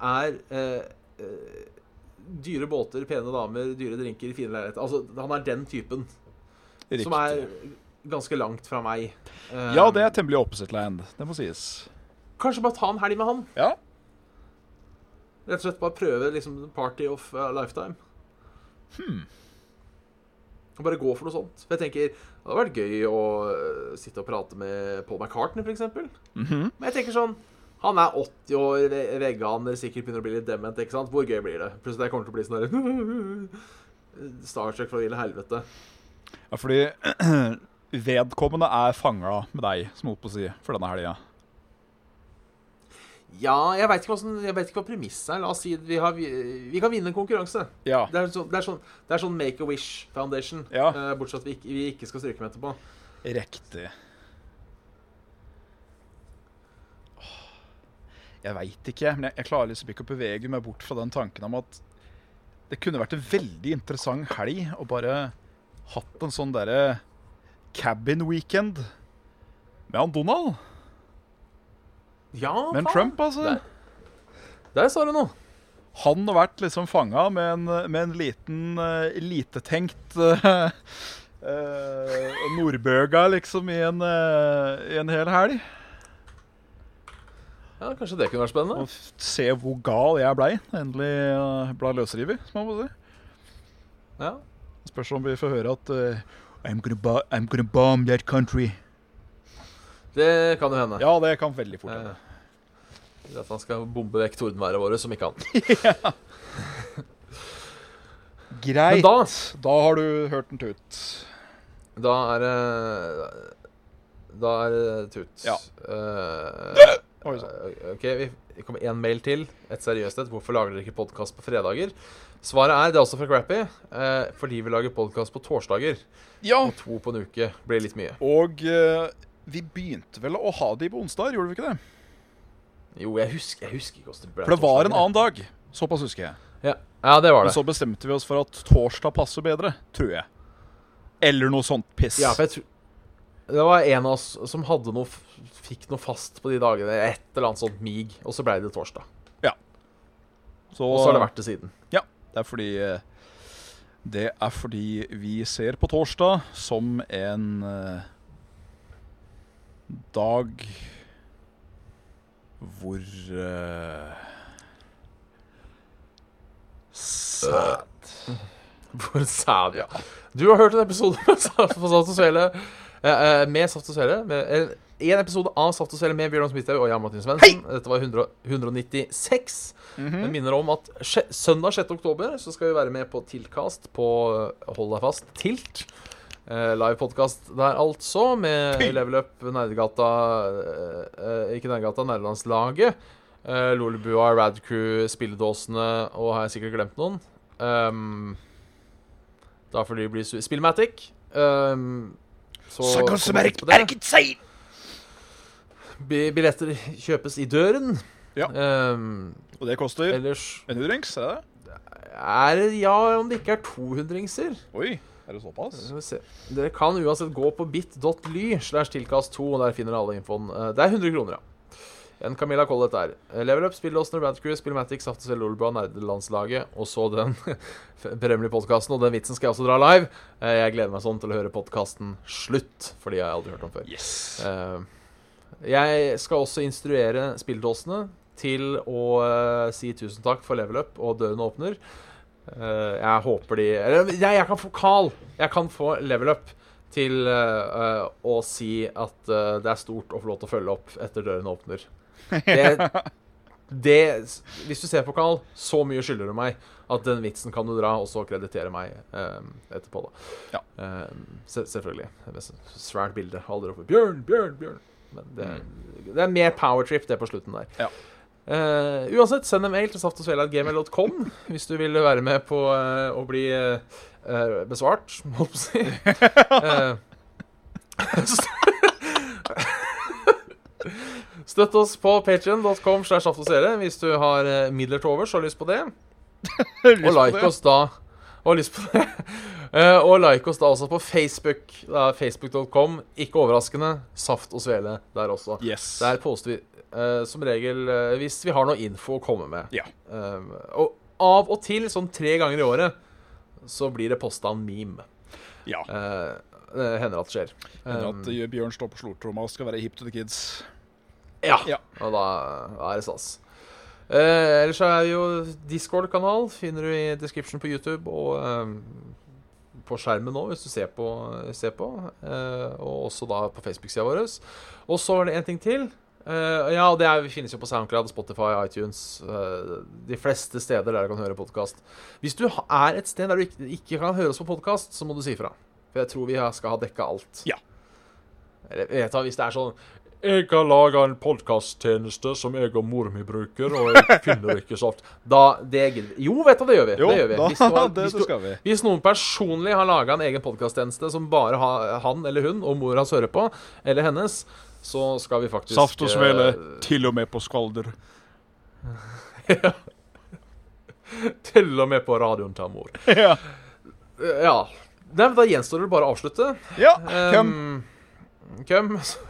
[SPEAKER 2] er eh, eh, dyre båter, pene damer, dyre drinker, fine leiligheter. Altså, han er den typen.
[SPEAKER 3] riktig.
[SPEAKER 2] Som er ganske langt fra meg. Eh,
[SPEAKER 3] Ja, det er temmelig opposite land. Det må sies.
[SPEAKER 2] Kanskje bare ta en helg med han.
[SPEAKER 3] Ja.
[SPEAKER 2] Rett og slett bare prøve liksom party of a lifetime. Og Bare gå for noe sånt. For jeg tenker, Det hadde vært gøy å eh, sitte og prate med Paul McCartney, f.eks.
[SPEAKER 3] Mhm.
[SPEAKER 2] Men jeg tenker sånn Han er 80 år, ve- veganer, sikkert begynner å bli litt dement. ikke sant? Hvor gøy blir det? Plutselig jeg kommer til å bli sånn der Starstruck fra ville helvete.
[SPEAKER 3] ja, fordi vedkommende er fanga med deg, som holdt på å si, for denne helga.
[SPEAKER 2] Ja, jeg veit ikke, hvordan- jeg vet ikke hva premisset er. La oss si vi, har, vi, vi kan vinne en konkurranse.
[SPEAKER 3] Ja.
[SPEAKER 2] Det er sånn, det er sånn, det er sånn Make a Wish Foundation.
[SPEAKER 3] Ja.
[SPEAKER 2] eh, bortsett fra at vi ikke, vi ikke skal stryke med etterpå.
[SPEAKER 3] Riktig. Jeg veit ikke, men jeg, jeg klarer liksom ikke å bevege meg bort fra den tanken om at det kunne vært en veldig interessant helg å bare hatt en sånn derre cabin weekend med han Donald.
[SPEAKER 2] Ja,
[SPEAKER 3] Med en
[SPEAKER 2] faen.
[SPEAKER 3] Trump, altså.
[SPEAKER 2] Der. Der sa du noe.
[SPEAKER 3] han har vært liksom fanga med en, med en liten, eh, litetenkt eh, eh, nordbøga, liksom, i en, eh, i en hel helg.
[SPEAKER 2] Ja, Kanskje det kunne vært spennende.
[SPEAKER 3] Og f- se hvor gal jeg blei. Endelig uh, ble løsriver, som man må si.
[SPEAKER 2] Ja.
[SPEAKER 3] Spørs om vi får høre at eh, I'm, gonna bo I'm gonna bomb that country.
[SPEAKER 2] Det kan jo hende.
[SPEAKER 3] Ja, det kan veldig fort hende.
[SPEAKER 2] Eh, at han skal bombe vekk tordenværet våre, som ikke han. Men
[SPEAKER 3] Greit. Da,
[SPEAKER 2] da,
[SPEAKER 3] da har du hørt den tut.
[SPEAKER 2] da er det Da er det tut.
[SPEAKER 3] Ja.
[SPEAKER 2] Eh,
[SPEAKER 3] Oi, sånn.
[SPEAKER 2] Eh, Ok, vi- vi kommer en mail til. Et seriøst et. Hvorfor lager dere ikke podkast på fredager? Svaret er, det er også fra Crappy, eh, fordi vi lager podkast på torsdager.
[SPEAKER 3] Ja,
[SPEAKER 2] Og to på en uke blir litt mye.
[SPEAKER 3] og eh, vi begynte vel å ha de på onsdag, gjorde vi ikke det?
[SPEAKER 2] Jo, jeg husker, jeg husker ikke hvordan det ble.
[SPEAKER 3] For det var en
[SPEAKER 2] torsdager.
[SPEAKER 3] annen dag. Såpass husker jeg.
[SPEAKER 2] Ja, ja det var
[SPEAKER 3] Men
[SPEAKER 2] det.
[SPEAKER 3] så bestemte vi oss for at torsdag passer bedre, tror jeg. Eller noe sånt piss.
[SPEAKER 2] Ja, for jeg tror det var en av oss som hadde noe, f- fikk noe fast på de dagene. Et eller annet sånt mig. Og så ble det torsdag. Og så har det vært det siden.
[SPEAKER 3] Ja, det er fordi eh, Det er fordi vi ser på torsdag som en eh, dag hvor eh,
[SPEAKER 2] Øh.
[SPEAKER 3] Sæd
[SPEAKER 2] For sæd, ja. Du har hørt en episode med Saft og Svele. eh, eh, Med Saft og Svele. Med, eh, én episode av Saft og Svele med Bjørnar Smithaug og Jan Martin Svendsen. Dette var 100, 196.
[SPEAKER 3] Mhm. Mm.
[SPEAKER 2] Jeg minner om at sje- søndag 6. oktober så skal vi være med på Tiltkast på eh, Hold deg fast, Tilt. Eh, live podkast der, altså, med Level Up, Nerdegata eh, eh, Ikke Nerdegata, Nerdelandslaget. Uh, Lolebua, Radcrew, Spilledåsene og har jeg sikkert glemt noen. Um, da får de bli su- Spillmatic. Um, så kommer vi på det. Bi- Billetter kjøpes i døren.
[SPEAKER 3] Ja.
[SPEAKER 2] Ehm,
[SPEAKER 3] Og det koster
[SPEAKER 2] ellers
[SPEAKER 3] en hundrings, er det det?
[SPEAKER 2] er det ja om det ikke er 200-ringser.
[SPEAKER 3] Oi, er det såpass?
[SPEAKER 2] Skal vi se. Dere kan uansett gå på bit.ly slash tilkast2, og der finner dere alle infoen. Eh, Det er 100 kroner, ja. En Camilla Collett der. Eh, Level Up, Spilledåsene, Radcrew, Spillmatic, Saftes eller Olbua, Nerdelandslaget, og så den berømmelige podkasten. Og den vitsen skal jeg også dra live. Eh, Jeg gleder meg sånn til å høre podkasten slutt, for de har jeg aldri hørt om før.
[SPEAKER 3] Yes.
[SPEAKER 2] Eh, Jeg skal også instruere spilledåsene til å eh, si tusen takk for level up, og dørene åpner. Eh, jeg håper de Eller jeg, jeg kan få Carl! Jeg kan få level up til eh, eh, å si at eh, det er stort å få lov til å følge opp etter dørene åpner. Det, det Hvis du ser på Carl, så mye skylder du meg at den vitsen kan du dra, og så kreditere meg eh, etterpå, da. Eh, se, selvfølgelig. Det er et svært bilde. Alle roper 'Bjørn, Bjørn, Bjørn'. Men det, det er mer powertrip, det på slutten der.
[SPEAKER 3] Ja.
[SPEAKER 2] Eh, uansett, send en mail til saftogsvele.gmail.com hvis du vil være med på eh, å bli eh, eh, besvart, holdt på å si. Eh, Støtt oss på patreon.com slash saftogsvele hvis du har eh, midler til overs og har lyst på det. Og like oss da Og lyst på det Eh, Og like oss da også på Facebook Det er facebook.com Ikke overraskende Saft og svele der også
[SPEAKER 3] Yes.
[SPEAKER 2] Der poster vi eh, som regel eh, Hvis vi har noe info å komme med
[SPEAKER 3] Ja.
[SPEAKER 2] Eh, Og av og til Sånn tre ganger i året Så blir det postet en meme
[SPEAKER 3] ja.
[SPEAKER 2] Eh, Det hender at det skjer Ehm,
[SPEAKER 3] Hender at eh, Bjørn står på slortromma og skal være hip to the kids.
[SPEAKER 2] Ja.
[SPEAKER 3] Ja.
[SPEAKER 2] Og da, da er det stas. Eh, ellers så er jo Discord-kanal finner du i description på YouTube og eh, på skjermen nå, hvis du ser på. Ser på eh, og også da på Facebook-sida vår. Og så er det en ting til. Eh, ja, og det er, finnes jo på SoundCloud, Spotify, iTunes eh, De fleste steder der du kan høre podkast. Hvis du ha- er et sted der du ikke, ikke kan høre oss på podkast, så må du si fra. For jeg tror vi har- skal ha dekka alt.
[SPEAKER 3] Ja.
[SPEAKER 2] Eller vet du, hvis det er sånn
[SPEAKER 1] Jeg har laga en podkasttjeneste som jeg og mor mi bruker, og jeg finner ikke saft.
[SPEAKER 2] Da, det gidder vi. Jo, vet du, det gjør vi. det gjør vi.
[SPEAKER 3] da,
[SPEAKER 2] Hvis, du har,
[SPEAKER 3] det
[SPEAKER 2] hvis, du,
[SPEAKER 3] skal vi.
[SPEAKER 2] hvis noen personlig har laga en egen podkasttjeneste som bare ha, han eller hun og mor hans hører på, eller hennes, så skal vi faktisk
[SPEAKER 3] Saft og svele,
[SPEAKER 2] eh,
[SPEAKER 3] til og med på skalder.
[SPEAKER 2] til og med på radioen til mor.
[SPEAKER 3] ja. Um,
[SPEAKER 2] Eh, Ja. Nei, men da gjenstår det bare å avslutte.
[SPEAKER 3] ja,
[SPEAKER 2] Um, Køm.